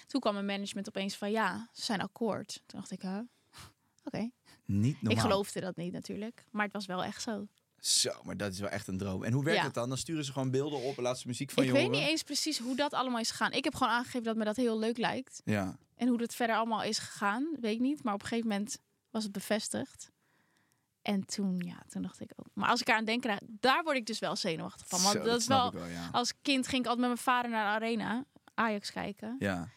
[SPEAKER 2] Toen kwam mijn management opeens van, ja, ze zijn akkoord. Toen dacht ik, huh? *laughs* oké.
[SPEAKER 3] Niet normaal.
[SPEAKER 2] Ik geloofde dat niet natuurlijk, maar het was wel echt zo.
[SPEAKER 3] Zo, maar dat is wel echt een droom. En hoe werkt
[SPEAKER 2] Ja.
[SPEAKER 3] het dan? Dan sturen ze gewoon beelden op en laten ze muziek van
[SPEAKER 2] ik
[SPEAKER 3] je
[SPEAKER 2] weet
[SPEAKER 3] horen?
[SPEAKER 2] niet eens precies hoe dat allemaal is gegaan. Ik heb gewoon aangegeven dat me dat heel leuk lijkt.
[SPEAKER 3] Ja.
[SPEAKER 2] En hoe dat verder allemaal is gegaan, weet ik niet. Maar op een gegeven moment was het bevestigd. En toen, ja, toen dacht ik ook. Maar als ik eraan denk, nou, daar word ik dus wel zenuwachtig van. Want
[SPEAKER 3] Zo,
[SPEAKER 2] dat, is
[SPEAKER 3] snap
[SPEAKER 2] wel,
[SPEAKER 3] ik wel, ja.
[SPEAKER 2] Als kind ging ik altijd met mijn vader naar de arena, Ajax kijken.
[SPEAKER 3] ja.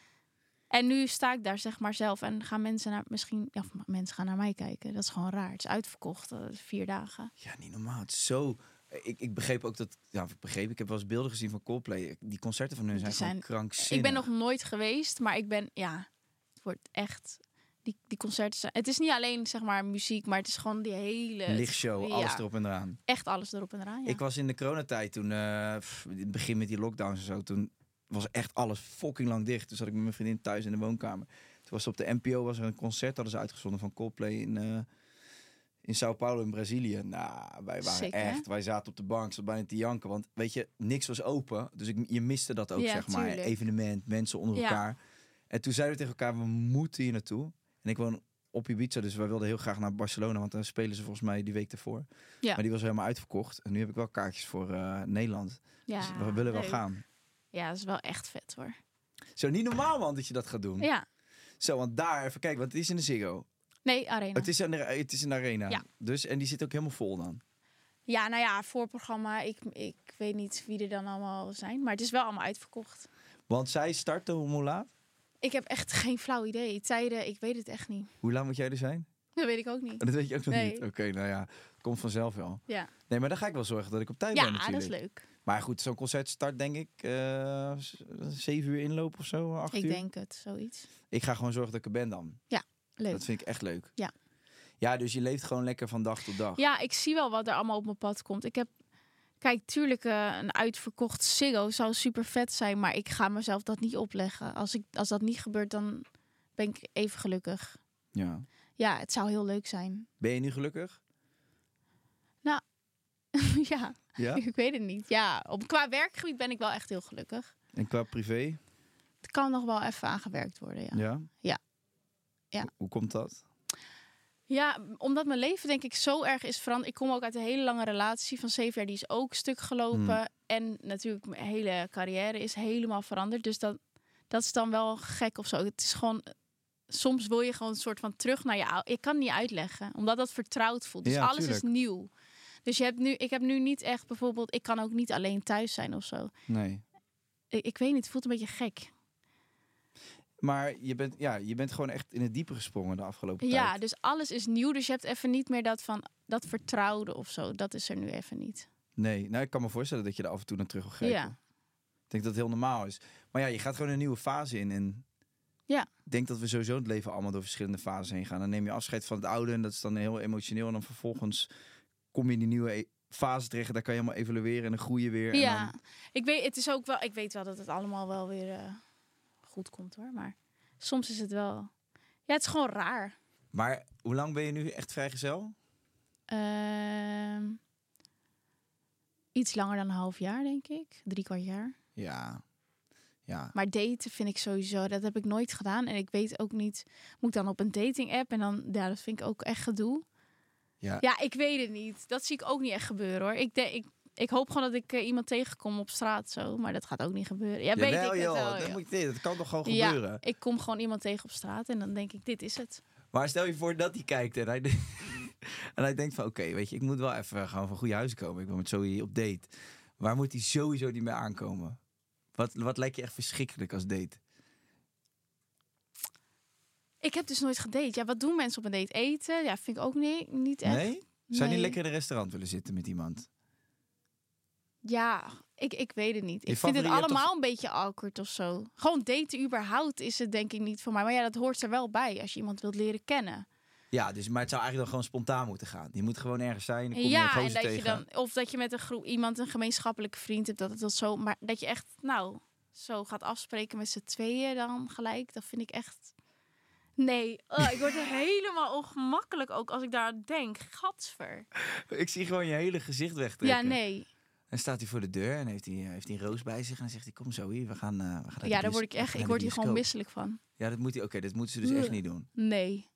[SPEAKER 2] En nu sta ik daar zeg maar zelf en gaan mensen naar, misschien, ja, of mensen gaan naar mij kijken. Dat is gewoon raar. Het is uitverkocht, eh, vier dagen.
[SPEAKER 3] Ja, niet normaal. Het is zo eh, Ik, ik begreep ook dat... Ja, of ik begreep. Ik heb wel eens beelden gezien van Coldplay. Die concerten van hun zijn,
[SPEAKER 2] Die
[SPEAKER 3] gewoon
[SPEAKER 2] zijn-
[SPEAKER 3] krankzinnig.
[SPEAKER 2] Ik ben nog nooit geweest, maar ik ben, ja, het wordt echt. Die, die concerten zijn. Het is niet alleen zeg maar muziek, maar het is gewoon die hele.
[SPEAKER 3] Lichtshow,
[SPEAKER 2] ja,
[SPEAKER 3] alles erop en eraan.
[SPEAKER 2] Echt alles erop en eraan. Ja.
[SPEAKER 3] Ik was in de coronatijd toen, eh, pff, in het begin met die lockdowns en zo, toen was echt alles fucking lang dicht. Toen zat ik met mijn vriendin thuis in de woonkamer. Toen was er op de NPO was er een concert, hadden ze uitgezonden van Coldplay in, eh in Sao Paulo in Brazilië. Nou, wij waren
[SPEAKER 2] Sick, hè?
[SPEAKER 3] echt, wij zaten op de bank, zaten bijna te janken. Want weet je, niks was open, dus ik, je miste dat ook,
[SPEAKER 2] Ja,
[SPEAKER 3] zeg maar.
[SPEAKER 2] tuurlijk.
[SPEAKER 3] Evenement, mensen onder
[SPEAKER 2] Ja.
[SPEAKER 3] elkaar. En toen zeiden we tegen elkaar, we moeten hier naartoe. En ik woon op Ibiza, dus wij wilden heel graag naar Barcelona, want daar spelen ze volgens mij die week ervoor.
[SPEAKER 2] Ja.
[SPEAKER 3] Maar die was helemaal uitverkocht. En nu heb ik wel kaartjes voor eh, Nederland.
[SPEAKER 2] ja,
[SPEAKER 3] dus we willen wel
[SPEAKER 2] leuk.
[SPEAKER 3] gaan.
[SPEAKER 2] Ja, dat is wel echt vet hoor.
[SPEAKER 3] Zo, niet normaal man dat je dat gaat doen.
[SPEAKER 2] Ja,
[SPEAKER 3] Zo, want daar, even kijken, want het is in de Ziggo.
[SPEAKER 2] nee, Arena.
[SPEAKER 3] Het, is een, het is een arena.
[SPEAKER 2] Ja.
[SPEAKER 3] Dus, en die zit ook helemaal vol dan.
[SPEAKER 2] Ja, nou ja, voorprogramma. Ik, ik weet niet wie er dan allemaal zijn, maar het is wel allemaal uitverkocht.
[SPEAKER 3] Want zij starten om hoe laat?
[SPEAKER 2] Ik heb echt geen flauw idee. Tijden, ik weet het echt niet. *laughs*
[SPEAKER 3] Hoe laat moet jij er zijn? *laughs*
[SPEAKER 2] Dat weet ik ook niet.
[SPEAKER 3] Dat weet je ook nog
[SPEAKER 2] Nee.
[SPEAKER 3] niet. Oké, nou ja, komt vanzelf wel.
[SPEAKER 2] Ja,
[SPEAKER 3] Nee, maar dan ga ik wel zorgen dat ik op tijd ben
[SPEAKER 2] ja
[SPEAKER 3] natuurlijk.
[SPEAKER 2] dat is leuk.
[SPEAKER 3] Maar goed, zo'n concert start denk ik eh, z- zeven uur inloop of zo, acht
[SPEAKER 2] Ik
[SPEAKER 3] uur.
[SPEAKER 2] denk het, zoiets.
[SPEAKER 3] Ik ga gewoon zorgen dat ik er ben dan.
[SPEAKER 2] Leuk.
[SPEAKER 3] Dat vind ik echt leuk.
[SPEAKER 2] Ja.
[SPEAKER 3] Ja, dus je leeft gewoon lekker van dag tot dag.
[SPEAKER 2] Ja, ik zie wel wat er allemaal op mijn pad komt. Ik heb, kijk, tuurlijk, eh, een uitverkocht Ziggo zou super vet zijn, maar ik ga mezelf dat niet opleggen. Als, ik, als dat niet gebeurt, dan ben ik even gelukkig.
[SPEAKER 3] ja.
[SPEAKER 2] Ja, het zou heel leuk zijn. *laughs*
[SPEAKER 3] Ben je nu gelukkig?
[SPEAKER 2] ja, *laughs*
[SPEAKER 3] Ja.
[SPEAKER 2] ik weet het niet. Ja, op, qua werkgebied ben ik wel echt heel gelukkig.
[SPEAKER 3] En qua privé?
[SPEAKER 2] Het kan nog wel even aangewerkt worden, ja.
[SPEAKER 3] Ja.
[SPEAKER 2] Ja. Ja.
[SPEAKER 3] Hoe- Hoe komt dat?
[SPEAKER 2] Ja, omdat mijn leven denk ik zo erg is veranderd. Ik kom ook uit een hele lange relatie van zeven jaar. Die is ook stuk gelopen.
[SPEAKER 3] Hmm.
[SPEAKER 2] En natuurlijk mijn hele carrière is helemaal veranderd. Dus dat, dat is dan wel gek of zo. Het is gewoon... Soms wil je gewoon een soort van terug naar je oude... Ik kan het niet uitleggen, omdat dat vertrouwd voelt. Dus
[SPEAKER 3] Ja,
[SPEAKER 2] alles
[SPEAKER 3] tuurlijk.
[SPEAKER 2] is nieuw. Dus je hebt nu, ik heb nu niet echt bijvoorbeeld... Ik kan ook niet alleen thuis zijn of zo.
[SPEAKER 3] Nee.
[SPEAKER 2] Ik, ik weet niet, het voelt een beetje gek.
[SPEAKER 3] Maar je bent, ja, je bent gewoon echt in het diepe gesprongen de afgelopen
[SPEAKER 2] Ja,
[SPEAKER 3] tijd.
[SPEAKER 2] dus alles is nieuw. Dus je hebt even niet meer dat van... Dat vertrouwde of zo, dat is er nu even niet.
[SPEAKER 3] Nee, nou ik kan me voorstellen dat je er af en toe naar terug wil kijken.
[SPEAKER 2] Ja.
[SPEAKER 3] Ik denk dat het heel normaal is. Maar ja, je gaat gewoon een nieuwe fase in. En
[SPEAKER 2] Ja.
[SPEAKER 3] ik denk dat we sowieso in het leven allemaal door verschillende fases heen gaan. Dan neem je afscheid van het oude en dat is dan heel emotioneel. En dan vervolgens kom je in die nieuwe e- fase terecht. Daar kan je helemaal evalueren en dan groei je weer.
[SPEAKER 2] ja,
[SPEAKER 3] En dan,
[SPEAKER 2] ik weet, het is ook wel, ik weet wel dat het allemaal wel weer eh, goed komt hoor. Maar soms is het wel. Ja, het is gewoon raar.
[SPEAKER 3] maar hoe lang ben je nu echt vrijgezel?
[SPEAKER 2] Ehm, iets langer dan een half jaar, denk ik. Drie kwart jaar.
[SPEAKER 3] Ja. Ja.
[SPEAKER 2] Maar daten vind ik sowieso, dat heb ik nooit gedaan. En ik weet ook niet, moet ik dan op een dating app? En dan, ja, dat vind ik ook echt gedoe.
[SPEAKER 3] Ja.
[SPEAKER 2] Ja, ik weet het niet. Dat zie ik ook niet echt gebeuren hoor. Ik, denk, ik, ik hoop gewoon dat ik eh, iemand tegenkom op straat zo. Maar dat gaat ook niet gebeuren. Ja, weet ik
[SPEAKER 3] Jawel,
[SPEAKER 2] het
[SPEAKER 3] joh,
[SPEAKER 2] wel.
[SPEAKER 3] dat,
[SPEAKER 2] joh.
[SPEAKER 3] moet, nee, dat kan toch gewoon
[SPEAKER 2] Ja,
[SPEAKER 3] gebeuren?
[SPEAKER 2] ik kom gewoon iemand tegen op straat en dan denk ik, dit is het.
[SPEAKER 3] Maar stel je voor dat hij kijkt en hij, *laughs* en hij denkt van... Oké, weet je, ik moet wel even gewoon van goede huizen komen. Ik wil met Zoe op date. Waar moet hij sowieso niet mee aankomen? Wat, wat lijkt je echt verschrikkelijk als date?
[SPEAKER 2] Ik heb dus nooit gedate. Ja, wat doen mensen op een date? Eten? Ja, vind ik ook niet, niet echt.
[SPEAKER 3] Nee? Zou je
[SPEAKER 2] Nee.
[SPEAKER 3] niet lekker in een restaurant willen zitten met iemand?
[SPEAKER 2] Ja, ik, ik weet het niet.
[SPEAKER 3] Je
[SPEAKER 2] Ik vind het
[SPEAKER 3] favoriete-
[SPEAKER 2] allemaal een beetje awkward of zo. Gewoon daten überhaupt is het denk ik niet voor mij. Maar ja, dat hoort er wel bij als je iemand wilt leren kennen.
[SPEAKER 3] Ja, dus, maar het zou eigenlijk dan gewoon spontaan moeten gaan. Je moet gewoon ergens zijn. Dan kom je een
[SPEAKER 2] ja, en
[SPEAKER 3] gozer
[SPEAKER 2] dat je
[SPEAKER 3] tegen.
[SPEAKER 2] dan, of dat je met een groep iemand een gemeenschappelijke vriend hebt, dat het dat zo, maar dat je echt, nou, zo gaat afspreken met z'n tweeën dan gelijk, dat vind ik echt. Nee, oh, ik word
[SPEAKER 3] *laughs*
[SPEAKER 2] er helemaal ongemakkelijk ook als ik daar aan denk. Gatsver.
[SPEAKER 3] *laughs* Ik zie gewoon je hele gezicht
[SPEAKER 2] Ja,
[SPEAKER 3] wegtrekken.
[SPEAKER 2] nee.
[SPEAKER 3] En staat hij voor de deur en heeft hij, heeft hij een roos bij zich. En dan zegt hij, kom Zoe, we gaan, eh, we gaan naar
[SPEAKER 2] Ja,
[SPEAKER 3] de
[SPEAKER 2] daar word
[SPEAKER 3] bios-
[SPEAKER 2] ik
[SPEAKER 3] we gaan
[SPEAKER 2] echt,
[SPEAKER 3] naar
[SPEAKER 2] ik
[SPEAKER 3] de
[SPEAKER 2] word hier gewoon
[SPEAKER 3] bioscoop.
[SPEAKER 2] misselijk van.
[SPEAKER 3] Ja, dat, moet hij, oké, dat moeten ze dus echt niet doen.
[SPEAKER 2] Nee.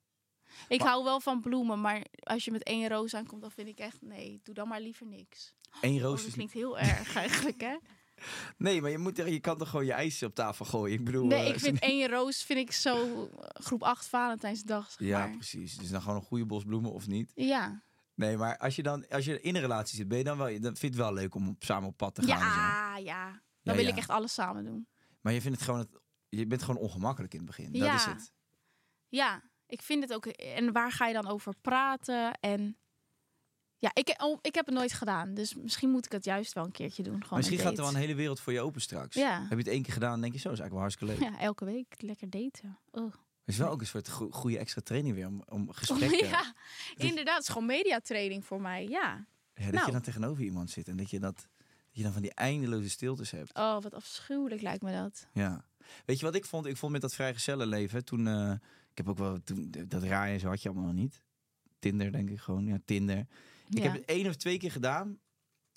[SPEAKER 2] Ik
[SPEAKER 3] Maar-
[SPEAKER 2] hou wel van bloemen, maar als je met één roos aankomt, dan vind ik echt, nee, doe dan maar liever niks.
[SPEAKER 3] Eén
[SPEAKER 2] Oh,
[SPEAKER 3] roos
[SPEAKER 2] dat
[SPEAKER 3] is niet.
[SPEAKER 2] klinkt heel erg eigenlijk, hè?
[SPEAKER 3] Nee, maar je, moet, er- je kan toch gewoon je ijs op tafel gooien. Ik bedoel.
[SPEAKER 2] Nee,
[SPEAKER 3] eh,
[SPEAKER 2] ik vind
[SPEAKER 3] *laughs*
[SPEAKER 2] één roos vind ik zo eh, groep 8 Valentijnsdag. Zeg
[SPEAKER 3] Ja,
[SPEAKER 2] maar.
[SPEAKER 3] precies. Dus dan gewoon een goede bos bloemen of niet.
[SPEAKER 2] Ja.
[SPEAKER 3] Nee, maar als je dan als je in een relatie zit, ben je dan wel. Dan vind je het wel leuk om op, samen op pad te gaan. en zo.
[SPEAKER 2] Ja, ja. Dan
[SPEAKER 3] Ja,
[SPEAKER 2] wil
[SPEAKER 3] ja.
[SPEAKER 2] ik echt alles samen doen.
[SPEAKER 3] Maar je vindt het gewoon. Het, je bent gewoon ongemakkelijk in het begin. Dat
[SPEAKER 2] Ja.
[SPEAKER 3] is het.
[SPEAKER 2] Ja, ik vind het ook. En waar ga je dan over praten? En Ja, ik, oh, ik heb het nooit gedaan. Dus misschien moet ik het juist wel een keertje doen. Gewoon
[SPEAKER 3] Maar misschien
[SPEAKER 2] een
[SPEAKER 3] gaat er wel
[SPEAKER 2] date.
[SPEAKER 3] een hele wereld voor je open straks.
[SPEAKER 2] Ja.
[SPEAKER 3] Heb je het één keer gedaan, denk je zo, is eigenlijk wel hartstikke leuk.
[SPEAKER 2] Ja, elke week lekker daten. Oh.
[SPEAKER 3] Het is wel ook een soort go- goede extra training weer om,
[SPEAKER 2] *laughs*
[SPEAKER 3] om gesprekken.
[SPEAKER 2] ja, inderdaad. Het is gewoon mediatraining voor mij. Ja.
[SPEAKER 3] Ja, dat
[SPEAKER 2] Nou.
[SPEAKER 3] je dan tegenover iemand zit en dat je, dat, dat je dan van die eindeloze stiltes hebt.
[SPEAKER 2] Oh, wat afschuwelijk lijkt me dat.
[SPEAKER 3] Ja. Weet je wat ik vond? Ik vond met dat vrijgezellenleven toen... eh, ik heb ook wel... Toen, dat raaien en zo had je allemaal nog niet. Tinder denk ik gewoon. Ja, Tinder. Ik
[SPEAKER 2] Ja.
[SPEAKER 3] heb het één of twee keer gedaan.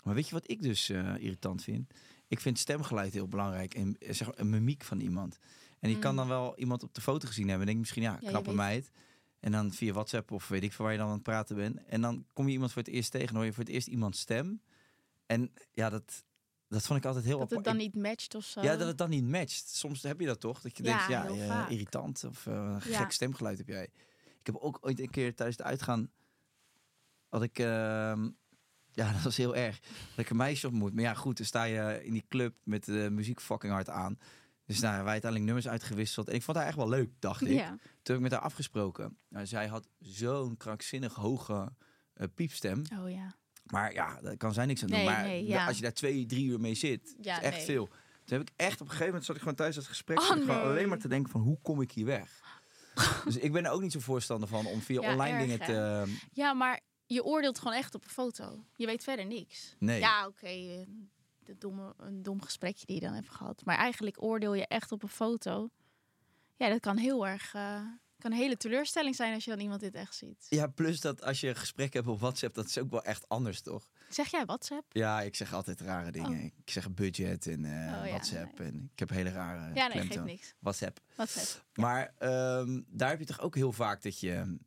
[SPEAKER 3] Maar weet je wat ik dus eh, irritant vind? Ik vind stemgeluid heel belangrijk. En eh, zeg, maar, een mimiek van iemand. En je kan dan wel iemand op de foto gezien hebben. En denk je misschien, ja,
[SPEAKER 2] Mm. je
[SPEAKER 3] knappe
[SPEAKER 2] weet-
[SPEAKER 3] meid. En dan via WhatsApp of weet ik veel waar je dan aan het praten bent. En dan kom je iemand voor het eerst tegen. en hoor je voor het eerst iemands stem. En ja, dat, dat vond ik altijd heel
[SPEAKER 2] Dat het
[SPEAKER 3] apart.
[SPEAKER 2] dan
[SPEAKER 3] Ik-
[SPEAKER 2] niet matcht of zo.
[SPEAKER 3] ja, dat het dan niet matcht. Soms heb je dat toch? Dat je
[SPEAKER 2] Eh. Ja,
[SPEAKER 3] denkt, ja,
[SPEAKER 2] heel
[SPEAKER 3] eh,
[SPEAKER 2] vaak.
[SPEAKER 3] irritant of eh, een
[SPEAKER 2] Ja.
[SPEAKER 3] gek stemgeluid heb jij. Ik heb ook ooit een keer tijdens het uitgaan... had ik... ehm, ja, *laughs* dat was heel erg. Dat ik een meisje ontmoet. Maar ja, goed, dan sta je in die club met de muziek fucking hard aan. Dus nou, wij uiteindelijk nummers uitgewisseld. En ik vond haar echt wel leuk, dacht ik.
[SPEAKER 2] Ja.
[SPEAKER 3] Toen heb ik met haar afgesproken. Nou, zij had zo'n krankzinnig hoge eh, piepstem.
[SPEAKER 2] Oh ja.
[SPEAKER 3] Maar ja, daar kan zij niks aan doen.
[SPEAKER 2] Nee,
[SPEAKER 3] maar
[SPEAKER 2] nee, ja.
[SPEAKER 3] als je daar twee, drie uur mee zit,
[SPEAKER 2] Ja,
[SPEAKER 3] is echt
[SPEAKER 2] nee.
[SPEAKER 3] veel. Toen heb ik echt op een gegeven moment zat ik gewoon thuis dat gesprek.
[SPEAKER 2] Oh,
[SPEAKER 3] zat ik gewoon
[SPEAKER 2] nee.
[SPEAKER 3] alleen maar te denken van hoe kom ik hier
[SPEAKER 2] *laughs*
[SPEAKER 3] weg? dus ik ben er ook niet zo voorstander van om via
[SPEAKER 2] Ja,
[SPEAKER 3] online
[SPEAKER 2] erg,
[SPEAKER 3] dingen
[SPEAKER 2] hè?
[SPEAKER 3] te. ehm,
[SPEAKER 2] Ja, maar je oordeelt gewoon echt op een foto. Je weet verder niks.
[SPEAKER 3] Nee.
[SPEAKER 2] Ja, oké. eh, de domme, een dom gesprekje die je dan hebt gehad. Maar eigenlijk oordeel je echt op een foto. Ja, dat kan heel erg... eh, kan een hele teleurstelling zijn als je dan iemand dit echt ziet.
[SPEAKER 3] Ja, plus dat als je gesprekken hebt op WhatsApp, dat is ook wel echt anders, toch?
[SPEAKER 2] Zeg jij WhatsApp?
[SPEAKER 3] Ja, ik zeg altijd rare dingen. Ik zeg budget en eh,
[SPEAKER 2] Oh. ja,
[SPEAKER 3] WhatsApp en ik heb hele rare.
[SPEAKER 2] nee, geeft
[SPEAKER 3] klemtoon.
[SPEAKER 2] niks.
[SPEAKER 3] WhatsApp.
[SPEAKER 2] WhatsApp.
[SPEAKER 3] *laughs* Maar ehm, daar heb je toch ook heel vaak dat je,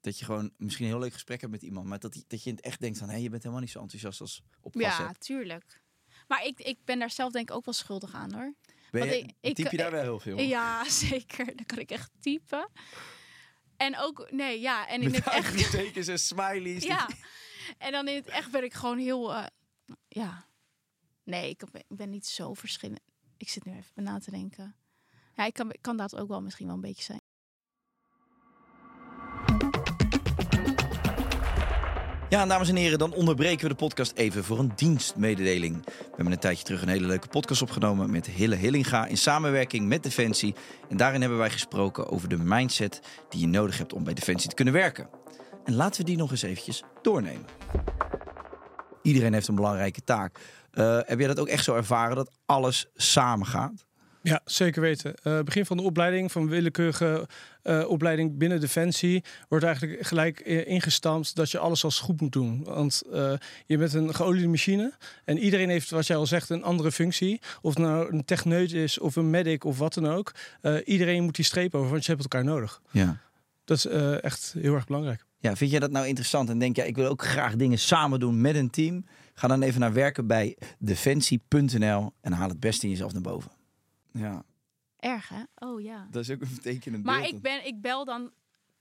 [SPEAKER 3] dat je gewoon misschien een heel leuk gesprek hebt met iemand. Maar dat, die- dat je in het echt denkt van, hé, je bent helemaal niet zo enthousiast als op
[SPEAKER 2] Ja,
[SPEAKER 3] WhatsApp.
[SPEAKER 2] tuurlijk. Maar ik, ik ben daar zelf denk ik ook wel schuldig aan hoor.
[SPEAKER 3] ben
[SPEAKER 2] want
[SPEAKER 3] je,
[SPEAKER 2] ik- ik-
[SPEAKER 3] typ je daar
[SPEAKER 2] ik-
[SPEAKER 3] wel heel veel?
[SPEAKER 2] Ja, *laughs* zeker. Dan kan ik echt typen. En ook, nee, ja.
[SPEAKER 3] *laughs*
[SPEAKER 2] En in
[SPEAKER 3] Met
[SPEAKER 2] het echt.
[SPEAKER 3] tekens en smileys. die-
[SPEAKER 2] *laughs* Ja. En dan in het echt ben ik gewoon heel. eh, ja. Nee, ik ben, ik ben niet zo verschillend. Ik zit nu even na te denken. Ja, ik kan, ik kan dat ook wel misschien wel een beetje zijn.
[SPEAKER 3] Ja, en dames en heren, dan onderbreken we de podcast even voor een dienstmededeling. We hebben een tijdje terug een hele leuke podcast opgenomen met Hille Hillinga in samenwerking met Defensie. En daarin hebben wij gesproken over de mindset die je nodig hebt om bij Defensie te kunnen werken. En laten we die nog eens eventjes doornemen. Iedereen heeft een belangrijke taak. Eh, heb jij dat ook echt zo ervaren dat alles samengaat?
[SPEAKER 5] Ja, zeker weten. Eh, begin van de opleiding, van willekeurige eh, opleiding binnen Defensie, wordt eigenlijk gelijk eh, ingestampt dat je alles als goed moet doen. Want eh, je bent een geoliede machine en iedereen heeft, wat jij al zegt, een andere functie. Of het nou een techneut is of een medic of wat dan ook. eh, iedereen moet die streep over, want je hebt elkaar nodig.
[SPEAKER 3] Ja.
[SPEAKER 5] Dat is eh, echt heel erg belangrijk.
[SPEAKER 3] Ja, vind jij dat nou interessant en denk jij, ik wil ook graag dingen samen doen met een team? Ga dan even naar werken bij defensie.nl en haal het beste in jezelf naar boven. Ja,
[SPEAKER 2] Erg, hè? Oh ja.
[SPEAKER 3] dat is ook een tekenend
[SPEAKER 2] Maar ik, ben, ik bel dan.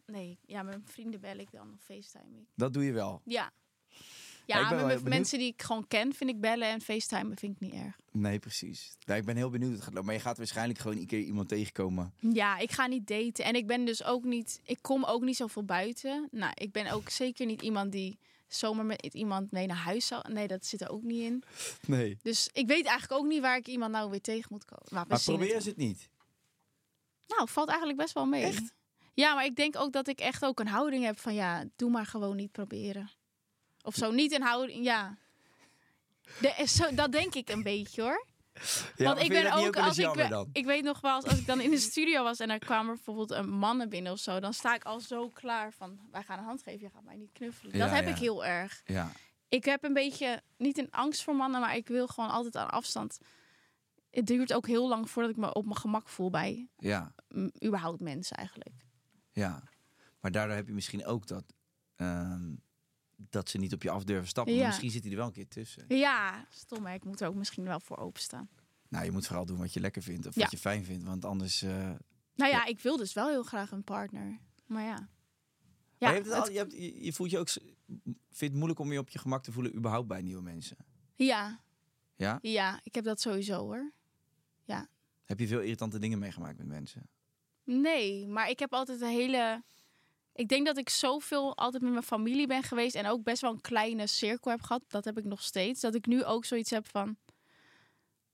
[SPEAKER 2] Nee, ja, mijn vrienden bel ik dan of FaceTime ik.
[SPEAKER 3] Dat doe je wel.
[SPEAKER 2] Ja.
[SPEAKER 3] ik ben
[SPEAKER 2] Ja,
[SPEAKER 3] wel
[SPEAKER 2] met
[SPEAKER 3] heel
[SPEAKER 2] mijn-
[SPEAKER 3] benieuwd.
[SPEAKER 2] mensen die ik gewoon ken, vind ik bellen en facetimen vind ik niet erg.
[SPEAKER 3] Nee, precies. Ja, ik ben heel benieuwd hoe het gaat lopen. Maar je gaat waarschijnlijk gewoon een keer iemand tegenkomen.
[SPEAKER 2] Ja, ik ga niet daten. En ik ben dus ook niet. Ik kom ook niet zoveel buiten. Nou, ik ben ook zeker niet iemand die zomaar met iemand mee naar huis zou. Nee, dat zit er ook niet in.
[SPEAKER 3] Nee.
[SPEAKER 2] Dus ik weet eigenlijk ook niet waar ik iemand nou weer tegen moet komen. Maar, we
[SPEAKER 3] Maar
[SPEAKER 2] zien
[SPEAKER 3] probeer
[SPEAKER 2] het.
[SPEAKER 3] eens het niet.
[SPEAKER 2] Nou, valt eigenlijk best wel mee. Ja, maar ik denk ook dat ik echt ook een houding heb van ja, doe maar gewoon niet proberen. Of zo niet een houding. Ja. De, zo, dat denk ik een beetje hoor.
[SPEAKER 3] Ja,
[SPEAKER 2] Want
[SPEAKER 3] maar
[SPEAKER 2] ik
[SPEAKER 3] vind je
[SPEAKER 2] ben
[SPEAKER 3] dat niet
[SPEAKER 2] ook,
[SPEAKER 3] wel eens
[SPEAKER 2] als ik, eh,
[SPEAKER 3] jammer
[SPEAKER 2] we-
[SPEAKER 3] dan?
[SPEAKER 2] ik weet nog wel, als, als ik dan in de studio was en er kwamen bijvoorbeeld een mannen binnen of zo, dan sta ik al zo klaar van, wij gaan een hand geven, je gaat mij niet knuffelen. Dat
[SPEAKER 3] Ja,
[SPEAKER 2] heb
[SPEAKER 3] ja.
[SPEAKER 2] ik heel erg.
[SPEAKER 3] Ja.
[SPEAKER 2] Ik heb een beetje, niet een angst voor mannen, maar ik wil gewoon altijd aan afstand. Het duurt ook heel lang voordat ik me op mijn gemak voel bij
[SPEAKER 3] ja,
[SPEAKER 2] mm, überhaupt mensen eigenlijk.
[SPEAKER 3] ja. Maar daardoor heb je misschien ook dat, ehm, dat ze niet op je af durven stappen.
[SPEAKER 2] Ja.
[SPEAKER 3] Maar misschien zit hij er wel een keer tussen.
[SPEAKER 2] Ja, stom hè, ik moet er ook misschien wel voor openstaan.
[SPEAKER 3] Nou, je moet vooral doen wat je lekker vindt of
[SPEAKER 2] Ja.
[SPEAKER 3] wat je fijn vindt. Want anders... eh,
[SPEAKER 2] Nou ja, ik wil dus wel heel graag een partner. Maar ja.
[SPEAKER 3] Maar
[SPEAKER 2] Ja,
[SPEAKER 3] je, hebt het
[SPEAKER 2] het-
[SPEAKER 3] al- je, hebt- je- je voelt je ook, s- vindt het moeilijk om je op je gemak te voelen überhaupt bij nieuwe mensen.
[SPEAKER 2] ja,
[SPEAKER 3] Ja?
[SPEAKER 2] ja, ik heb dat sowieso hoor.
[SPEAKER 3] Heb je veel irritante dingen meegemaakt met mensen?
[SPEAKER 2] Nee, maar ik heb altijd een hele Ik denk dat ik zoveel altijd met mijn familie ben geweest en ook best wel een kleine cirkel heb gehad. Dat heb ik nog steeds. Dat ik nu ook zoiets heb van.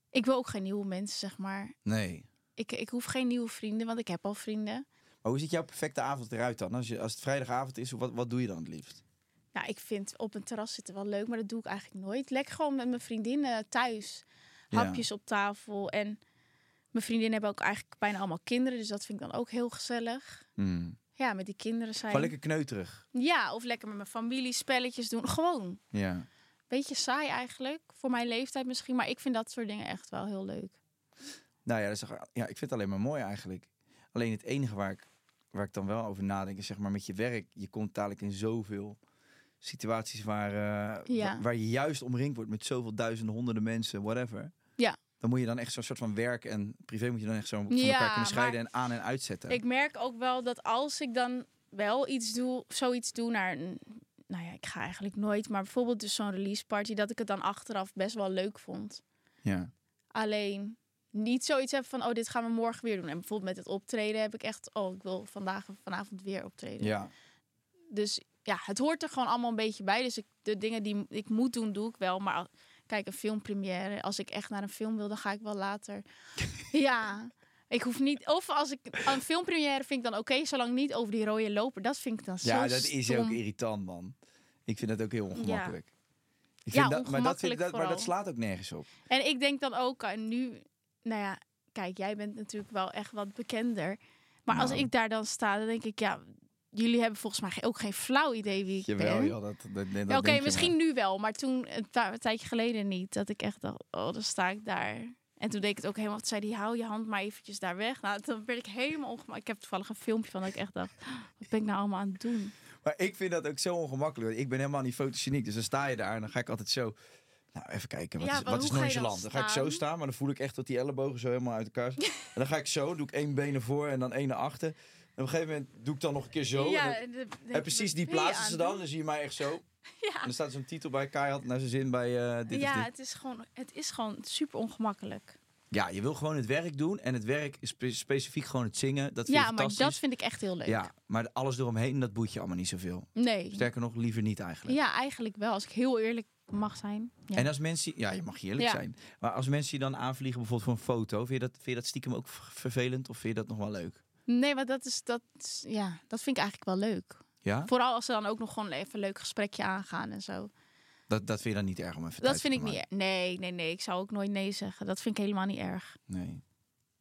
[SPEAKER 2] Ik wil ook geen nieuwe mensen, zeg maar.
[SPEAKER 3] Nee.
[SPEAKER 2] Ik, ik hoef geen nieuwe vrienden, want ik heb al vrienden.
[SPEAKER 3] Maar hoe ziet jouw perfecte avond eruit dan? Als, je, als het vrijdagavond is, wat, wat doe je dan het liefst?
[SPEAKER 2] Nou, ik vind op een terras zitten wel leuk, maar dat doe ik eigenlijk nooit. Lekker gewoon met mijn vriendinnen thuis.
[SPEAKER 3] Ja.
[SPEAKER 2] Hapjes op tafel. En mijn vriendinnen hebben ook eigenlijk bijna allemaal kinderen. Dus dat vind ik dan ook heel gezellig.
[SPEAKER 3] Mm.
[SPEAKER 2] Ja, met die kinderen zijn.
[SPEAKER 3] Gewoon lekker kneuterig.
[SPEAKER 2] Ja, of lekker met mijn familie spelletjes doen. Gewoon.
[SPEAKER 3] Ja.
[SPEAKER 2] Beetje saai eigenlijk. Voor mijn leeftijd misschien. Maar ik vind dat soort dingen echt wel heel leuk.
[SPEAKER 3] Nou ja, dat is, toch- ja, ik vind het alleen maar mooi eigenlijk. Alleen het enige waar ik, waar ik dan wel over nadenk is zeg maar met je werk. Je komt dadelijk in zoveel situaties waar, eh,
[SPEAKER 2] Ja.
[SPEAKER 3] wa- waar je juist omringd wordt met zoveel duizenden, honderden mensen, whatever.
[SPEAKER 2] Ja.
[SPEAKER 3] Dan moet je dan echt zo'n soort van werk en privé moet je dan echt zo van
[SPEAKER 2] Ja,
[SPEAKER 3] elkaar kunnen scheiden
[SPEAKER 2] maar-
[SPEAKER 3] en aan- en uitzetten.
[SPEAKER 2] Ik merk ook wel dat als ik dan wel iets doe, zoiets doe naar een. Nou ja, ik ga eigenlijk nooit, maar bijvoorbeeld dus zo'n release party, dat ik het dan achteraf best wel leuk vond.
[SPEAKER 3] Ja.
[SPEAKER 2] Alleen niet zoiets heb van, oh, dit gaan we morgen weer doen. En bijvoorbeeld met het optreden heb ik echt, oh, ik wil vandaag en vanavond weer optreden.
[SPEAKER 3] ja.
[SPEAKER 2] Dus ja, het hoort er gewoon allemaal een beetje bij. Dus ik, de dingen die ik moet doen, doe ik wel. Maar al- kijk, een filmpremière. Als ik echt naar een film wil, dan ga ik wel
[SPEAKER 3] *laughs*
[SPEAKER 2] later. ja, ik hoef niet. Of als ik een filmpremière vind ik dan oké, zolang niet over die rode loper. Dat vind ik dan zo
[SPEAKER 3] Ja, dat is ook
[SPEAKER 2] stom.
[SPEAKER 3] irritant, man. Ik vind dat ook heel ongemakkelijk. Ik
[SPEAKER 2] Ja,
[SPEAKER 3] vind dat, maar, dat vind,
[SPEAKER 2] ongemakkelijk
[SPEAKER 3] ik- dat, maar dat
[SPEAKER 2] vooral.
[SPEAKER 3] slaat ook nergens op.
[SPEAKER 2] En ik denk dan ook aan nu, nou ja, kijk, jij bent natuurlijk wel echt wat bekender. Maar als
[SPEAKER 3] Nou.
[SPEAKER 2] ik daar dan sta, dan denk ik, ja, jullie hebben volgens mij ook geen flauw idee wie ik ben.
[SPEAKER 3] joh, dat, dat, dat
[SPEAKER 2] Ja,
[SPEAKER 3] denk
[SPEAKER 2] Oké,
[SPEAKER 3] je nou? maar.
[SPEAKER 2] misschien nu wel, maar toen een, ta- een tijdje geleden niet. Dat ik echt dacht, oh, dan sta ik daar. En toen deed ik het ook helemaal. Toen zei die, hou je hand maar eventjes daar weg. Nou, toen werd ik helemaal ongemakkelijk. Ik heb toevallig een filmpje van dat ik echt dacht, *gasps* wat ben ik nou allemaal aan het doen?
[SPEAKER 3] Maar ik vind dat ook zo ongemakkelijk. want Ik ben helemaal niet fotogeniek. Dus dan sta je daar en dan ga ik altijd zo... Nou, even kijken. Wat
[SPEAKER 2] Ja,
[SPEAKER 3] is,
[SPEAKER 2] maar
[SPEAKER 3] wat is nou
[SPEAKER 2] hoe ga je dan
[SPEAKER 3] nonchalant? Dan ga ik zo
[SPEAKER 2] staan?
[SPEAKER 3] staan, maar dan voel ik echt dat die ellebogen zo helemaal uit
[SPEAKER 2] *laughs*
[SPEAKER 3] elkaar zijn. en dan ga ik zo, doe ik één been naar voren en dan één naar achter. En op een gegeven moment doe ik dan nog een keer zo. en dan-
[SPEAKER 2] en, de- denk
[SPEAKER 3] en
[SPEAKER 2] ik,
[SPEAKER 3] precies
[SPEAKER 2] wat
[SPEAKER 3] die
[SPEAKER 2] ben je
[SPEAKER 3] plaatsen
[SPEAKER 2] aan
[SPEAKER 3] ze
[SPEAKER 2] het
[SPEAKER 3] dan.
[SPEAKER 2] doen? *laughs*
[SPEAKER 3] Dan zie je mij echt zo. En
[SPEAKER 2] Ja,
[SPEAKER 3] dan staat zo'n titel bij Keihard naar zijn zin bij eh, dit of
[SPEAKER 2] ja
[SPEAKER 3] dit.
[SPEAKER 2] het, is gewoon, het is gewoon super ongemakkelijk.
[SPEAKER 3] Ja, je wil gewoon het werk doen. En het werk is spe- specifiek gewoon het zingen. Dat vind je
[SPEAKER 2] Ja, maar
[SPEAKER 3] fantastisch.
[SPEAKER 2] dat vind ik echt heel leuk.
[SPEAKER 3] Ja, maar alles eromheen, dat boeit je allemaal niet zoveel.
[SPEAKER 2] Nee.
[SPEAKER 3] Sterker nog, liever niet eigenlijk.
[SPEAKER 2] Ja, eigenlijk wel, als ik heel eerlijk mag zijn. Ja.
[SPEAKER 3] En als mensen... Ja, je mag je eerlijk
[SPEAKER 2] Ja.
[SPEAKER 3] zijn. Maar als mensen je dan aanvliegen bijvoorbeeld voor een foto... Vind je, dat, vind je dat stiekem ook v- vervelend? Of vind je dat nog wel leuk?
[SPEAKER 2] Nee, maar dat, is, dat, is- ja, dat vind ik eigenlijk wel leuk.
[SPEAKER 3] Ja?
[SPEAKER 2] Vooral als ze dan ook nog gewoon even een leuk gesprekje aangaan en zo.
[SPEAKER 3] Dat, dat vind je dan niet erg om even
[SPEAKER 2] Dat
[SPEAKER 3] thuis
[SPEAKER 2] vind
[SPEAKER 3] te
[SPEAKER 2] ik niet
[SPEAKER 3] maken?
[SPEAKER 2] erg. Nee, nee, nee. Ik zou ook nooit nee zeggen. Dat vind ik helemaal niet erg.
[SPEAKER 3] Nee.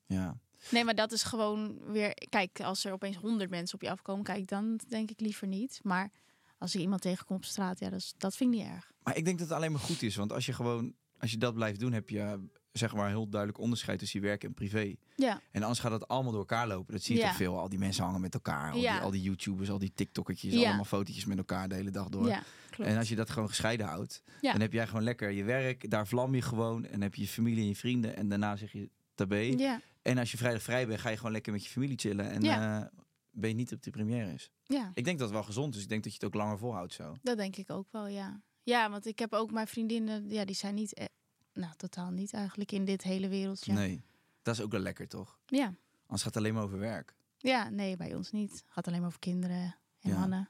[SPEAKER 3] Ja.
[SPEAKER 2] Nee, maar dat is gewoon weer... Kijk, als er opeens honderd mensen op je afkomen... Kijk, dan denk ik liever niet. Maar als je iemand tegenkomt op straat... Ja, dat, is- dat vind ik niet erg.
[SPEAKER 3] Maar ik denk dat het alleen maar goed is. Want als je gewoon... Als je dat blijft doen, heb je eh, zeg maar heel duidelijk onderscheid tussen je werk en privé.
[SPEAKER 2] Ja,
[SPEAKER 3] En anders gaat dat allemaal door elkaar lopen. Dat zie je
[SPEAKER 2] Ja.
[SPEAKER 3] toch veel. Al die mensen hangen met elkaar. Al,
[SPEAKER 2] Ja.
[SPEAKER 3] die, al die YouTubers, al die TikTokketjes.
[SPEAKER 2] Ja.
[SPEAKER 3] Allemaal fotootjes met elkaar de hele dag door.
[SPEAKER 2] ja klopt.
[SPEAKER 3] En als je dat gewoon gescheiden houdt,
[SPEAKER 2] Ja.
[SPEAKER 3] dan heb jij gewoon lekker je werk. Daar vlam je gewoon. En heb je je familie en je vrienden. En daarna zeg je tabé.
[SPEAKER 2] Ja,
[SPEAKER 3] En als je vrijdag vrij bent, ga je gewoon lekker met je familie chillen. En
[SPEAKER 2] Ja.
[SPEAKER 3] eh, ben je niet op de première is.
[SPEAKER 2] ja,
[SPEAKER 3] Ik denk dat het wel gezond is. Ik denk dat je het ook langer volhoudt zo.
[SPEAKER 2] dat denk ik ook wel, ja. Ja, want ik heb ook mijn vriendinnen... Ja, die zijn niet... eh, nou, totaal niet eigenlijk in dit hele wereldje.
[SPEAKER 3] Nee. Dat is ook wel lekker, toch?
[SPEAKER 2] Ja.
[SPEAKER 3] Anders gaat het alleen maar over werk.
[SPEAKER 2] ja, nee, bij ons niet. Gaat alleen maar over kinderen en
[SPEAKER 3] Ja.
[SPEAKER 2] mannen.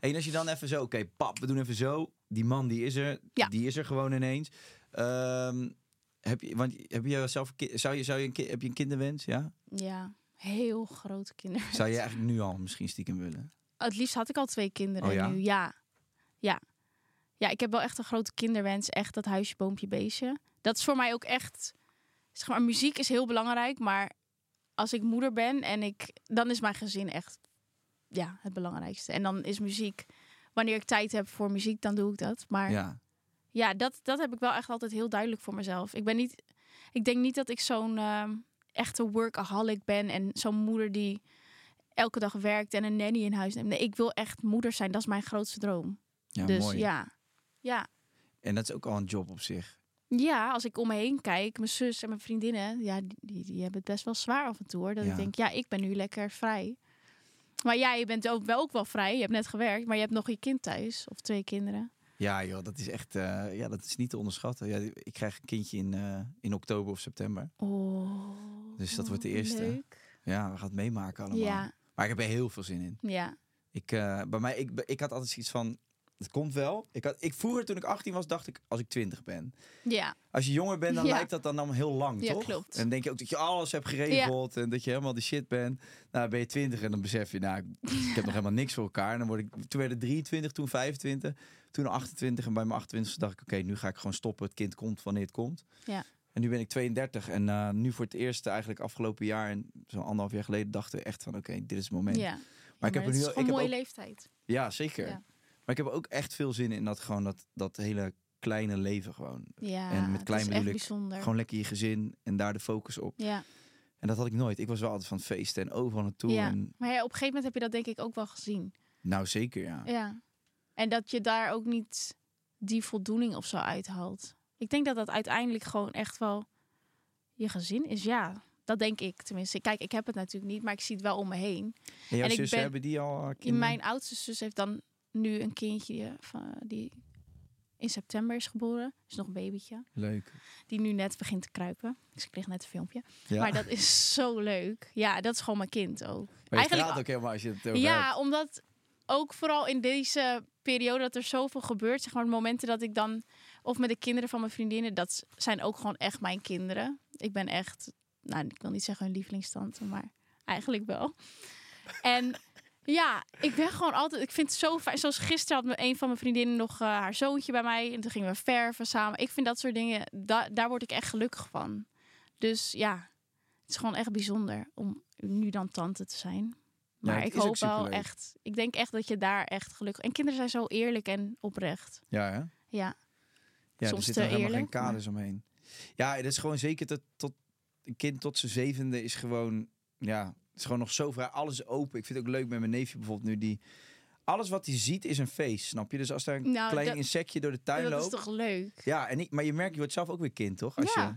[SPEAKER 3] Hey, En als je dan even zo, oké, pap, we doen even zo. Die man die is er,
[SPEAKER 2] Ja.
[SPEAKER 3] die is er gewoon ineens. Ehm, heb je, want heb je zelf, een ki- zou je, zou je een, ki- heb je een kinderwens? Ja.
[SPEAKER 2] Ja, heel grote kinderen.
[SPEAKER 3] Zou
[SPEAKER 2] *laughs*
[SPEAKER 3] je eigenlijk nu al misschien stiekem willen?
[SPEAKER 2] Het liefst had ik al twee kinderen
[SPEAKER 3] Oh ja?
[SPEAKER 2] nu. Ja. ja. Ja, ik heb wel echt een grote kinderwens. Echt dat huisje, boompje, beestje. Dat is voor mij ook echt... Zeg maar, muziek is heel belangrijk, maar als ik moeder ben en ik... Dan is mijn gezin echt ja, het belangrijkste. En dan is muziek... Wanneer ik tijd heb voor muziek, dan doe ik dat. Maar ja,
[SPEAKER 3] Ja.
[SPEAKER 2] dat, dat heb ik wel echt altijd heel duidelijk voor mezelf. Ik ben niet... Ik denk niet dat ik zo'n ehm, echte workaholic ben en zo'n moeder die elke dag werkt en een nanny in huis neemt. Nee, ik wil echt moeder zijn. Dat is mijn grootste droom.
[SPEAKER 3] Ja,
[SPEAKER 2] dus
[SPEAKER 3] mooi.
[SPEAKER 2] ja. Ja.
[SPEAKER 3] En dat is ook al een job op zich.
[SPEAKER 2] Ja, als ik om me heen kijk, mijn zus en mijn vriendinnen, ja, die, die, die hebben het best wel zwaar af en toe. Hoor. Dat
[SPEAKER 3] Ja.
[SPEAKER 2] ik denk, ja, ik ben nu lekker vrij. Maar jij bent ook wel, ook wel vrij. Je hebt net gewerkt, maar je hebt nog je kind thuis. Of twee kinderen.
[SPEAKER 3] Ja, joh, dat is echt, eh, ja, dat is niet te onderschatten. Ja, ik krijg een kindje in, eh, in oktober of september.
[SPEAKER 2] Oh.
[SPEAKER 3] Dus dat wordt de eerste.
[SPEAKER 2] Leuk.
[SPEAKER 3] Ja, we gaan het meemaken allemaal.
[SPEAKER 2] Ja,
[SPEAKER 3] Maar ik heb er heel veel zin in.
[SPEAKER 2] ja.
[SPEAKER 3] Ik Ik, eh, bij mij, ik, ik had altijd zoiets van, het komt wel. Ik had, ik, vroeger toen ik 18 was, dacht ik, als ik 20 ben.
[SPEAKER 2] Ja,
[SPEAKER 3] Als je jonger bent, dan
[SPEAKER 2] Ja.
[SPEAKER 3] lijkt dat dan allemaal heel lang,
[SPEAKER 2] Ja,
[SPEAKER 3] toch?
[SPEAKER 2] klopt.
[SPEAKER 3] En dan denk je ook dat je alles hebt geregeld en dat je helemaal de shit bent. Nou, dan ben je 20 en dan besef je, nou, ik, ik heb nog helemaal niks voor elkaar. En dan word ik, toen werd het 23, toen 25, toen 28. En bij mijn 28 dacht ik, oké, nu ga ik gewoon stoppen. Het kind komt wanneer het komt.
[SPEAKER 2] ja.
[SPEAKER 3] En nu ben ik 32 en eh, nu voor het eerst eigenlijk afgelopen jaar en zo'n anderhalf jaar geleden dachten we echt van oké, dit is het moment.
[SPEAKER 2] ja.
[SPEAKER 3] maar ik heb
[SPEAKER 2] het
[SPEAKER 3] er nu
[SPEAKER 2] is
[SPEAKER 3] al-
[SPEAKER 2] gewoon
[SPEAKER 3] ik
[SPEAKER 2] een
[SPEAKER 3] heb
[SPEAKER 2] mooie
[SPEAKER 3] ook-
[SPEAKER 2] leeftijd.
[SPEAKER 3] Ja, zeker.
[SPEAKER 2] Ja.
[SPEAKER 3] Maar ik heb ook echt veel zin in dat gewoon dat, dat hele kleine leven gewoon.
[SPEAKER 2] Ja,
[SPEAKER 3] en met klein
[SPEAKER 2] het is
[SPEAKER 3] bedoel
[SPEAKER 2] echt
[SPEAKER 3] ik
[SPEAKER 2] bijzonder.
[SPEAKER 3] gewoon lekker je gezin en daar de focus op.
[SPEAKER 2] Ja,
[SPEAKER 3] En dat had ik nooit. Ik was wel altijd van feesten en overal naartoe.
[SPEAKER 2] ja.
[SPEAKER 3] En,
[SPEAKER 2] maar ja, op een gegeven moment heb je dat denk ik ook wel gezien.
[SPEAKER 3] nou zeker, ja.
[SPEAKER 2] Ja. En dat je daar ook niet die voldoening of zo uithaalt. Ik denk dat dat uiteindelijk gewoon echt wel je gezin is. Ja, dat denk ik tenminste. Kijk, ik heb het natuurlijk niet, maar ik zie het wel om me heen.
[SPEAKER 3] En jouw
[SPEAKER 2] En ik
[SPEAKER 3] zussen
[SPEAKER 2] ben-
[SPEAKER 3] hebben die al eh, kinderen?
[SPEAKER 2] In mijn oudste zus heeft dan nu een kindje eh, van, die in september is geboren. Is nog een babytje.
[SPEAKER 3] Leuk.
[SPEAKER 2] Die nu net begint te kruipen. Dus ik kreeg net een filmpje.
[SPEAKER 3] Ja.
[SPEAKER 2] Maar dat is zo leuk. Ja, dat is gewoon mijn kind ook.
[SPEAKER 3] Maar je straalt ook helemaal als je het over hebt.
[SPEAKER 2] Ja, omdat ook vooral in deze periode dat er zoveel gebeurt, zeg maar, de momenten dat ik dan of met de kinderen van mijn vriendinnen, dat s- zijn ook gewoon echt mijn kinderen. Ik ben echt, nou, ik wil niet zeggen hun lievelingstante, maar eigenlijk wel. En ja, ik ben gewoon altijd, ik vind het zo fijn. Zoals gisteren had me- een van mijn vriendinnen nog eh, haar zoontje bij mij en toen gingen we verven samen. Ik vind dat soort dingen, da- daar word ik echt gelukkig van. Dus ja, het is gewoon echt bijzonder om nu dan tante te zijn.
[SPEAKER 3] Ja,
[SPEAKER 2] Maar
[SPEAKER 3] het
[SPEAKER 2] ik
[SPEAKER 3] is ook
[SPEAKER 2] hoop wel
[SPEAKER 3] superleuk.
[SPEAKER 2] echt. Ik denk echt dat je daar echt gelukkig. En kinderen zijn zo eerlijk en oprecht.
[SPEAKER 3] Ja, hè?
[SPEAKER 2] Ja,
[SPEAKER 3] Ja, er
[SPEAKER 2] Soms
[SPEAKER 3] zitten
[SPEAKER 2] te
[SPEAKER 3] helemaal
[SPEAKER 2] eerlijk,
[SPEAKER 3] geen
[SPEAKER 2] maar-
[SPEAKER 3] kaders omheen. Ja, dat is gewoon zeker dat tot een kind tot zijn zevende is gewoon, ja, het is gewoon nog zo vrij. Alles is open. Ik vind het ook leuk met mijn neefje bijvoorbeeld nu die alles wat hij ziet is een feest, snap je? Dus als daar een
[SPEAKER 2] Nou,
[SPEAKER 3] klein
[SPEAKER 2] dat-
[SPEAKER 3] insectje door de tuin
[SPEAKER 2] dat
[SPEAKER 3] loopt,
[SPEAKER 2] is toch leuk?
[SPEAKER 3] ja, en ik, maar je merkt, je wordt zelf ook weer kind, toch? Als
[SPEAKER 2] Ja.
[SPEAKER 3] Je,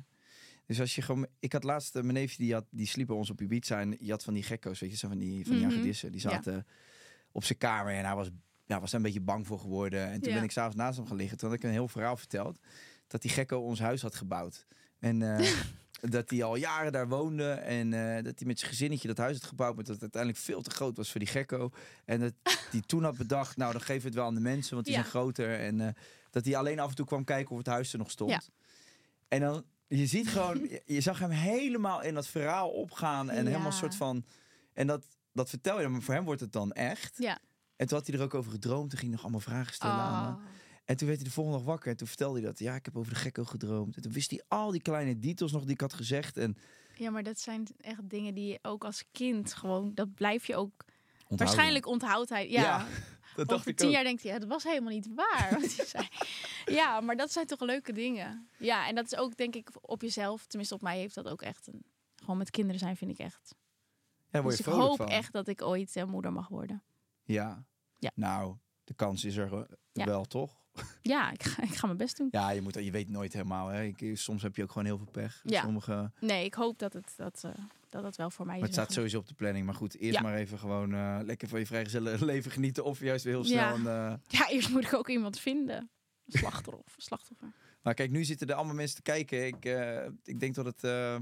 [SPEAKER 3] dus als je gewoon, ik had laatst eh, mijn neefje die had, die sliep bij ons op Ibiza en je had van die gekko's, weet je, zo van die van die
[SPEAKER 2] Mhm.
[SPEAKER 3] hagedissen, die
[SPEAKER 2] Ja.
[SPEAKER 3] zaten op zijn kamer en hij was, ja, was daar een beetje bang voor geworden. En toen
[SPEAKER 2] Ja.
[SPEAKER 3] ben ik s'avonds naast hem gaan liggen, toen had ik een heel verhaal verteld dat die gekko ons huis had gebouwd en
[SPEAKER 2] *laughs*
[SPEAKER 3] eh, dat hij al jaren daar woonde en eh, dat hij met zijn gezinnetje dat huis had gebouwd, maar dat het uiteindelijk veel te groot was voor die gekko
[SPEAKER 2] *laughs*
[SPEAKER 3] en dat die toen had bedacht, nou dan geven we het wel aan de mensen, want die
[SPEAKER 2] Ja.
[SPEAKER 3] zijn groter en eh, dat hij alleen af en toe kwam kijken of het huis er nog stond.
[SPEAKER 2] Ja.
[SPEAKER 3] En dan, je ziet gewoon, je, je zag hem helemaal in dat verhaal opgaan en
[SPEAKER 2] Ja.
[SPEAKER 3] helemaal een soort van, en dat, dat vertel je hem, maar voor hem wordt het dan echt.
[SPEAKER 2] Ja.
[SPEAKER 3] En toen had hij er ook over gedroomd, toen ging hij nog allemaal vragen stellen aan me.
[SPEAKER 2] Oh.
[SPEAKER 3] En toen werd hij de volgende dag wakker en toen vertelde hij dat, ja ik heb over de gekko gedroomd. En toen wist hij al die kleine details nog die ik had gezegd en
[SPEAKER 2] Ja, maar dat zijn echt dingen die je ook als kind gewoon, dat blijf je ook. Waarschijnlijk onthoudt hij. Ja,
[SPEAKER 3] dat dacht
[SPEAKER 2] over
[SPEAKER 3] ik
[SPEAKER 2] tien
[SPEAKER 3] ook.
[SPEAKER 2] jaar denkt hij, ja, dat was helemaal niet waar. *laughs* Wat hij zei. Ja, maar dat zijn toch leuke dingen. Ja, en dat is ook denk ik op jezelf, tenminste op mij heeft dat ook echt een. Gewoon met kinderen zijn vind ik echt.
[SPEAKER 3] Ja, word
[SPEAKER 2] Dus ik
[SPEAKER 3] je vrolijk
[SPEAKER 2] hoop
[SPEAKER 3] van.
[SPEAKER 2] echt dat ik ooit eh, moeder mag worden.
[SPEAKER 3] Ja.
[SPEAKER 2] Ja.
[SPEAKER 3] Nou, de kans is er eh,
[SPEAKER 2] Ja.
[SPEAKER 3] wel, toch?
[SPEAKER 2] Ja, ik ga, *laughs* ik ga mijn best doen.
[SPEAKER 3] Ja, je, moet, je weet nooit helemaal. Hè. Ik- eh, soms heb je ook gewoon heel veel pech.
[SPEAKER 2] Ja.
[SPEAKER 3] Sommige, maar
[SPEAKER 2] Nee, ik hoop dat het, dat, eh, dat, het wel voor mij is.
[SPEAKER 3] het staat
[SPEAKER 2] weggelegd.
[SPEAKER 3] sowieso op de planning. Maar goed, eerst
[SPEAKER 2] Ja.
[SPEAKER 3] maar even gewoon eh, lekker van je vrijgezellen *laughs* leven genieten. Of juist weer heel snel.
[SPEAKER 2] Ja.
[SPEAKER 3] een, eh,
[SPEAKER 2] *laughs* Ja, eerst moet ik ook iemand vinden. Slachtoffer.
[SPEAKER 3] *laughs*
[SPEAKER 2] slachtoffer.
[SPEAKER 3] Maar kijk, nu zitten er allemaal mensen te kijken. Ik, eh, ik denk dat het eh,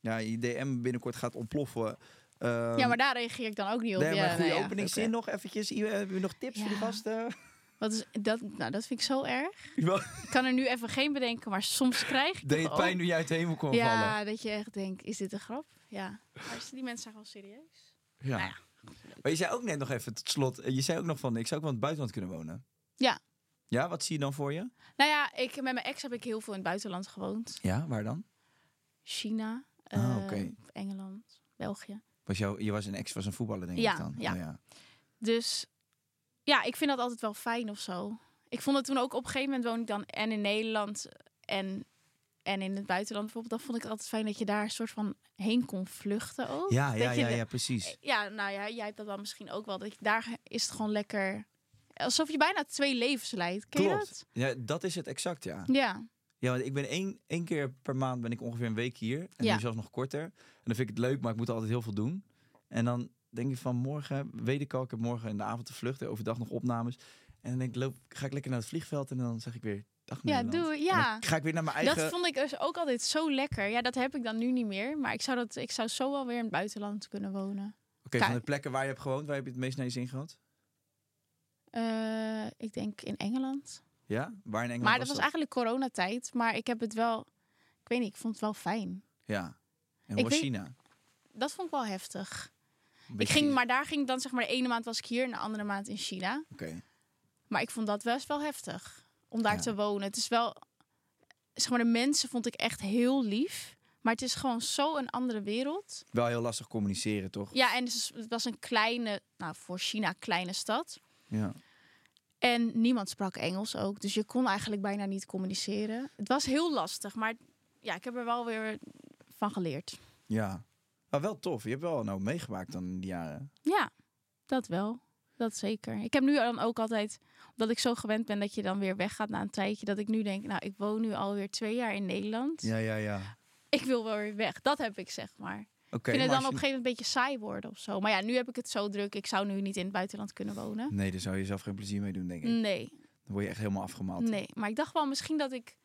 [SPEAKER 3] ja, je DM binnenkort gaat ontploffen. Ehm,
[SPEAKER 2] ja, maar daar reageer ik dan ook niet op.
[SPEAKER 3] nee, maar
[SPEAKER 2] ja,
[SPEAKER 3] een goede
[SPEAKER 2] nou ja,
[SPEAKER 3] openingszin nog eventjes. Hebben we nog tips voor de
[SPEAKER 2] Ja.
[SPEAKER 3] *laughs* gasten?
[SPEAKER 2] Wat is, dat, nou, dat vind ik zo erg.
[SPEAKER 3] Wel,
[SPEAKER 2] Ik kan er nu even geen bedenken, maar soms krijg ik
[SPEAKER 3] Deed
[SPEAKER 2] toch
[SPEAKER 3] het pijn
[SPEAKER 2] ook-
[SPEAKER 3] nu je uit de hemel kwam vallen?
[SPEAKER 2] Oh. Ja, dat je echt denkt, is dit een grap? Ja. Maar die mensen zijn gewoon serieus.
[SPEAKER 3] Ja.
[SPEAKER 2] Nou ja.
[SPEAKER 3] Maar je zei ook net nog even tot slot. eh, Je zei ook nog van, ik zou ook wel in het buitenland kunnen wonen.
[SPEAKER 2] Ja.
[SPEAKER 3] Ja, wat zie je dan voor je?
[SPEAKER 2] Nou ja, ik, met mijn ex heb ik heel veel in het buitenland gewoond.
[SPEAKER 3] Ja, waar dan?
[SPEAKER 2] China,
[SPEAKER 3] Ah,
[SPEAKER 2] eh,
[SPEAKER 3] oké.
[SPEAKER 2] Engeland, België.
[SPEAKER 3] Was jou, je was een ex, was een voetballer denk
[SPEAKER 2] Ja,
[SPEAKER 3] ik dan.
[SPEAKER 2] ja.
[SPEAKER 3] Oh, ja.
[SPEAKER 2] Dus ja, ik vind dat altijd wel fijn of zo. Ik vond het toen ook op een gegeven moment woon ik dan en in Nederland en, en in het buitenland bijvoorbeeld. Dan vond ik het altijd fijn dat je daar een soort van heen kon vluchten ook.
[SPEAKER 3] Ja, ja,
[SPEAKER 2] Dat je
[SPEAKER 3] ja,
[SPEAKER 2] de-
[SPEAKER 3] ja, precies.
[SPEAKER 2] ja, nou ja, jij hebt dat dan misschien ook wel. Dat je, daar is het gewoon lekker. Alsof je bijna twee levens leidt. Ken je dat?
[SPEAKER 3] Klopt. Ja, dat is het exact, ja.
[SPEAKER 2] Ja,
[SPEAKER 3] Ja, want ik ben één, één keer per maand ben ik ongeveer een week hier. En
[SPEAKER 2] Ja.
[SPEAKER 3] nu zelfs nog korter. En dan vind ik het leuk, maar ik moet altijd heel veel doen. En dan denk ik van morgen, weet ik al, ik heb morgen in de avond te vluchten. Overdag nog opnames. En dan denk ik, loop, ga ik lekker naar het vliegveld. En dan zeg ik weer, dag
[SPEAKER 2] ja
[SPEAKER 3] Nederland.
[SPEAKER 2] doe.
[SPEAKER 3] En dan
[SPEAKER 2] Ja.
[SPEAKER 3] ga ik weer naar mijn eigen...
[SPEAKER 2] Dat vond ik dus ook altijd zo lekker. Ja, dat heb ik dan nu niet meer. Maar ik zou, dat, ik zou zo wel weer in het buitenland kunnen wonen.
[SPEAKER 3] Oké,
[SPEAKER 2] Kijk.
[SPEAKER 3] van de plekken waar je hebt gewoond, waar heb je het meest naar je zin gehad?
[SPEAKER 2] Eh, ik denk in Engeland.
[SPEAKER 3] Ja? Waar in Engeland
[SPEAKER 2] maar dat was eigenlijk coronatijd. Maar ik heb het wel... Ik weet niet, ik vond het wel fijn.
[SPEAKER 3] Ja. En
[SPEAKER 2] Ik
[SPEAKER 3] hoe was
[SPEAKER 2] weet-
[SPEAKER 3] China?
[SPEAKER 2] Dat vond ik wel heftig.
[SPEAKER 3] Een
[SPEAKER 2] Ik
[SPEAKER 3] beetje-
[SPEAKER 2] ging, maar daar ging ik dan zeg maar... De ene maand was ik hier en de andere maand in China.
[SPEAKER 3] Oké.
[SPEAKER 2] Maar ik vond dat best wel heftig. Om daar
[SPEAKER 3] Ja.
[SPEAKER 2] te wonen. Het is wel... Zeg maar, de mensen vond ik echt heel lief. Maar het is gewoon zo een andere wereld.
[SPEAKER 3] Wel heel lastig communiceren, toch?
[SPEAKER 2] Ja, en het is- het was een kleine... Nou, voor China kleine stad.
[SPEAKER 3] Ja.
[SPEAKER 2] En niemand sprak Engels ook. Dus je kon eigenlijk bijna niet communiceren. Het was heel lastig, maar ja, ik heb er wel weer van geleerd.
[SPEAKER 3] Ja. Maar wel tof. Je hebt wel nou meegemaakt dan in die jaren.
[SPEAKER 2] Ja, dat wel. Dat zeker. Ik heb nu dan ook altijd, omdat ik zo gewend ben dat je dan weer weggaat na een tijdje, dat ik nu denk, nou, ik woon nu alweer twee jaar in Nederland.
[SPEAKER 3] ja, ja.
[SPEAKER 2] Ik wil wel weer weg. Dat heb ik, zeg maar.
[SPEAKER 3] Oké.
[SPEAKER 2] ik vind
[SPEAKER 3] maar
[SPEAKER 2] het dan
[SPEAKER 3] als
[SPEAKER 2] op een
[SPEAKER 3] je-
[SPEAKER 2] gegeven moment een beetje saai worden of zo. Maar ja, nu heb ik het zo druk. Ik zou nu niet in het buitenland kunnen wonen.
[SPEAKER 3] Nee, daar zou je zelf geen plezier mee doen, denk ik.
[SPEAKER 2] Nee.
[SPEAKER 3] Dan word je echt helemaal afgemaald.
[SPEAKER 2] Mm. Nee, maar ik dacht wel misschien dat ik...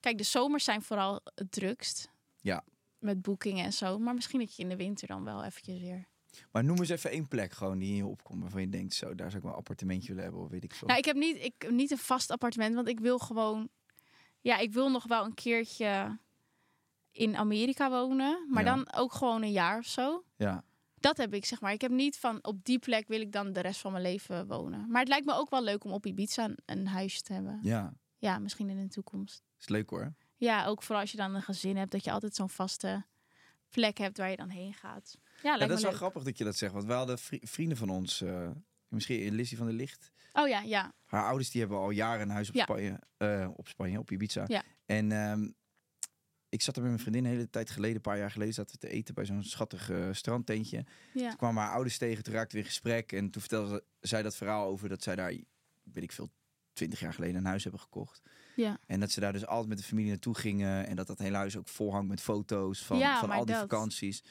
[SPEAKER 2] Kijk, de zomers zijn vooral het drukst.
[SPEAKER 3] Ja.
[SPEAKER 2] Met boekingen en zo. Maar misschien dat je in de winter dan wel eventjes weer...
[SPEAKER 3] Maar noem eens even één plek gewoon die in je opkomt waarvan je denkt, zo, daar zou ik wel een appartementje willen hebben of weet ik veel.
[SPEAKER 2] Nou, ik heb niet, ik, heb niet een vast appartement, want ik wil gewoon... Ja, ik wil nog wel een keertje in Amerika wonen. Maar
[SPEAKER 3] Ja.
[SPEAKER 2] dan ook gewoon een jaar of zo.
[SPEAKER 3] Ja.
[SPEAKER 2] Dat heb ik, zeg maar. Ik heb niet van op die plek wil ik dan de rest van mijn leven wonen. Maar het lijkt me ook wel leuk om op Ibiza een, een huisje te hebben.
[SPEAKER 3] Ja.
[SPEAKER 2] Ja, misschien in de toekomst.
[SPEAKER 3] Is leuk hoor.
[SPEAKER 2] Ja, ook vooral als je dan een gezin hebt, dat je altijd zo'n vaste plek hebt waar je dan heen gaat. Ja, lijkt
[SPEAKER 3] Ja,
[SPEAKER 2] me
[SPEAKER 3] dat is wel
[SPEAKER 2] leuk.
[SPEAKER 3] grappig dat je dat zegt, want we hadden vri- vrienden van ons, eh, misschien Lissy van der Licht,
[SPEAKER 2] Oh ja, ja.
[SPEAKER 3] haar ouders die hebben al jaren een huis op
[SPEAKER 2] Ja.
[SPEAKER 3] Spanje, eh, op Spanje, op Ibiza.
[SPEAKER 2] Ja.
[SPEAKER 3] En ehm, ik zat er met mijn vriendin een hele tijd geleden, een paar jaar geleden, zaten we te eten bij zo'n schattig eh, strandtentje.
[SPEAKER 2] ja.
[SPEAKER 3] Toen kwamen haar ouders tegen, toen raakten we in gesprek en toen vertelde ze- zij dat verhaal over dat zij daar, weet ik veel, twintig jaar geleden een huis hebben gekocht.
[SPEAKER 2] Ja.
[SPEAKER 3] En dat ze daar dus altijd met de familie naartoe gingen en dat dat hele huis ook vol hangt met foto's van,
[SPEAKER 2] Ja,
[SPEAKER 3] van
[SPEAKER 2] maar
[SPEAKER 3] al die
[SPEAKER 2] dat.
[SPEAKER 3] vakanties.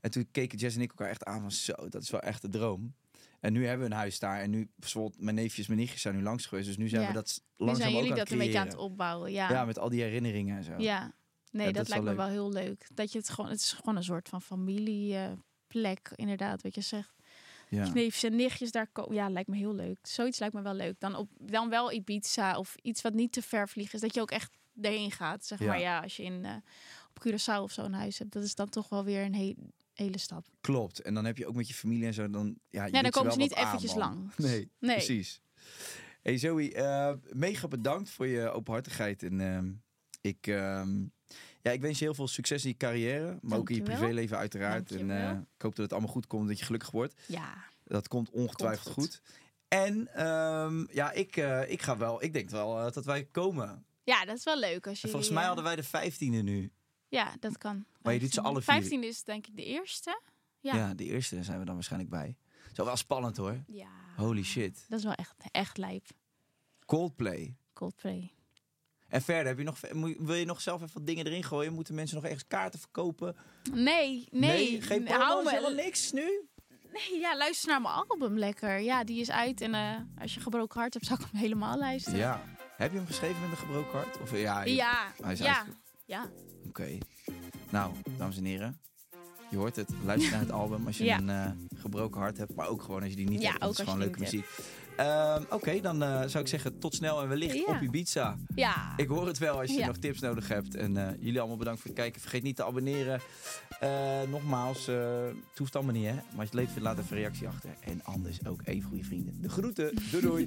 [SPEAKER 3] En toen keken Jess en ik elkaar echt aan van zo, dat is wel echt de droom. En nu hebben we een huis daar. En nu, bijvoorbeeld, mijn neefjes, mijn nichtjes zijn nu langs geweest. Dus nu zijn
[SPEAKER 2] Ja.
[SPEAKER 3] we dat
[SPEAKER 2] Nu
[SPEAKER 3] langzaam
[SPEAKER 2] zijn jullie
[SPEAKER 3] ook aan
[SPEAKER 2] dat
[SPEAKER 3] het
[SPEAKER 2] een beetje aan het
[SPEAKER 3] creëren.
[SPEAKER 2] opbouwen. Ja,
[SPEAKER 3] Ja,
[SPEAKER 2] ja.
[SPEAKER 3] met al die herinneringen en zo.
[SPEAKER 2] Nee,
[SPEAKER 3] Ja,
[SPEAKER 2] dat,
[SPEAKER 3] dat is wel
[SPEAKER 2] lijkt me
[SPEAKER 3] leuk.
[SPEAKER 2] wel heel leuk. Dat je het gewoon, het is gewoon een soort van familieplek, inderdaad, wat je zegt.
[SPEAKER 3] Ja.
[SPEAKER 2] Neefjes en nichtjes daar komen. Ja, lijkt me heel leuk. Zoiets lijkt me wel leuk. Dan, op, dan wel Ibiza of iets wat niet te ver vliegen is, dat je ook echt erheen gaat. Zeg
[SPEAKER 3] Ja.
[SPEAKER 2] maar ja, als je in, eh, op Curaçao of zo een huis hebt, dat is dan toch wel weer een he- hele stap.
[SPEAKER 3] Klopt. En dan heb je ook met je familie en zo. Dan, ja, je
[SPEAKER 2] Ja, dan
[SPEAKER 3] doet
[SPEAKER 2] komen ze
[SPEAKER 3] wel
[SPEAKER 2] niet
[SPEAKER 3] wat aan,
[SPEAKER 2] eventjes
[SPEAKER 3] man.
[SPEAKER 2] lang.
[SPEAKER 3] *laughs* Nee,
[SPEAKER 2] Nee.
[SPEAKER 3] precies. Hey Zoe, eh, mega bedankt voor je openhartigheid. En ehm, ik, ehm, ja, ik wens je heel veel succes in je carrière. Maar ook in je
[SPEAKER 2] Dankjewel.
[SPEAKER 3] privéleven uiteraard. En
[SPEAKER 2] Dankjewel.
[SPEAKER 3] eh, ik hoop dat het allemaal goed komt. Dat je gelukkig wordt.
[SPEAKER 2] Ja.
[SPEAKER 3] Dat komt ongetwijfeld
[SPEAKER 2] Komt
[SPEAKER 3] goed.
[SPEAKER 2] goed.
[SPEAKER 3] En ehm, ja, ik, eh, ik ga wel. Ik denk wel eh, dat wij komen. En
[SPEAKER 2] Ja, dat is wel leuk als je.
[SPEAKER 3] volgens mij hadden wij de vijftiende nu.
[SPEAKER 2] Ja, dat kan.
[SPEAKER 3] Maar je doet ze alle vier.
[SPEAKER 2] 15 is denk ik de eerste.
[SPEAKER 3] Ja.
[SPEAKER 2] Ja.
[SPEAKER 3] de eerste zijn we dan waarschijnlijk bij. Zo wel spannend hoor.
[SPEAKER 2] Ja.
[SPEAKER 3] Holy shit.
[SPEAKER 2] Dat is wel echt, echt lijp.
[SPEAKER 3] Coldplay.
[SPEAKER 2] Coldplay.
[SPEAKER 3] En verder, heb je nog, moet- wil je nog zelf even wat dingen erin gooien? Moeten mensen nog ergens kaarten verkopen?
[SPEAKER 2] Nee, nee.
[SPEAKER 3] geen
[SPEAKER 2] hou
[SPEAKER 3] promos,
[SPEAKER 2] me-
[SPEAKER 3] helemaal niks nu?
[SPEAKER 2] Nee, ja, luister naar mijn album lekker. Ja, die is uit. En eh, als je een gebroken hart hebt, zou ik hem helemaal luisteren.
[SPEAKER 3] Ja. Heb je hem geschreven met een gebroken hart? Of, ja, je-
[SPEAKER 2] Ja.
[SPEAKER 3] Hij is
[SPEAKER 2] ja.
[SPEAKER 3] uitge-
[SPEAKER 2] ja.
[SPEAKER 3] Oké. Nou, dames en heren. Je hoort het. Luister
[SPEAKER 2] *laughs*
[SPEAKER 3] naar het album als je
[SPEAKER 2] Ja.
[SPEAKER 3] een eh, gebroken hart hebt. Maar ook gewoon als je die niet
[SPEAKER 2] Ja,
[SPEAKER 3] hebt. want het
[SPEAKER 2] ook
[SPEAKER 3] is
[SPEAKER 2] als
[SPEAKER 3] gewoon
[SPEAKER 2] je die
[SPEAKER 3] leuke muziek. Ehm, Oké, dan eh, zou ik zeggen tot snel en wellicht
[SPEAKER 2] Ja.
[SPEAKER 3] op Ibiza.
[SPEAKER 2] Ja.
[SPEAKER 3] Ik hoor het wel als je
[SPEAKER 2] Ja.
[SPEAKER 3] nog tips nodig hebt. En eh, jullie allemaal bedankt voor het kijken. Vergeet niet te abonneren. Eh, nogmaals, eh, het hoeft allemaal niet hè. Maar als je het leuk vindt, laat even een reactie achter. En anders ook even goede vrienden. De groeten. Doei
[SPEAKER 2] *laughs*
[SPEAKER 3] doei.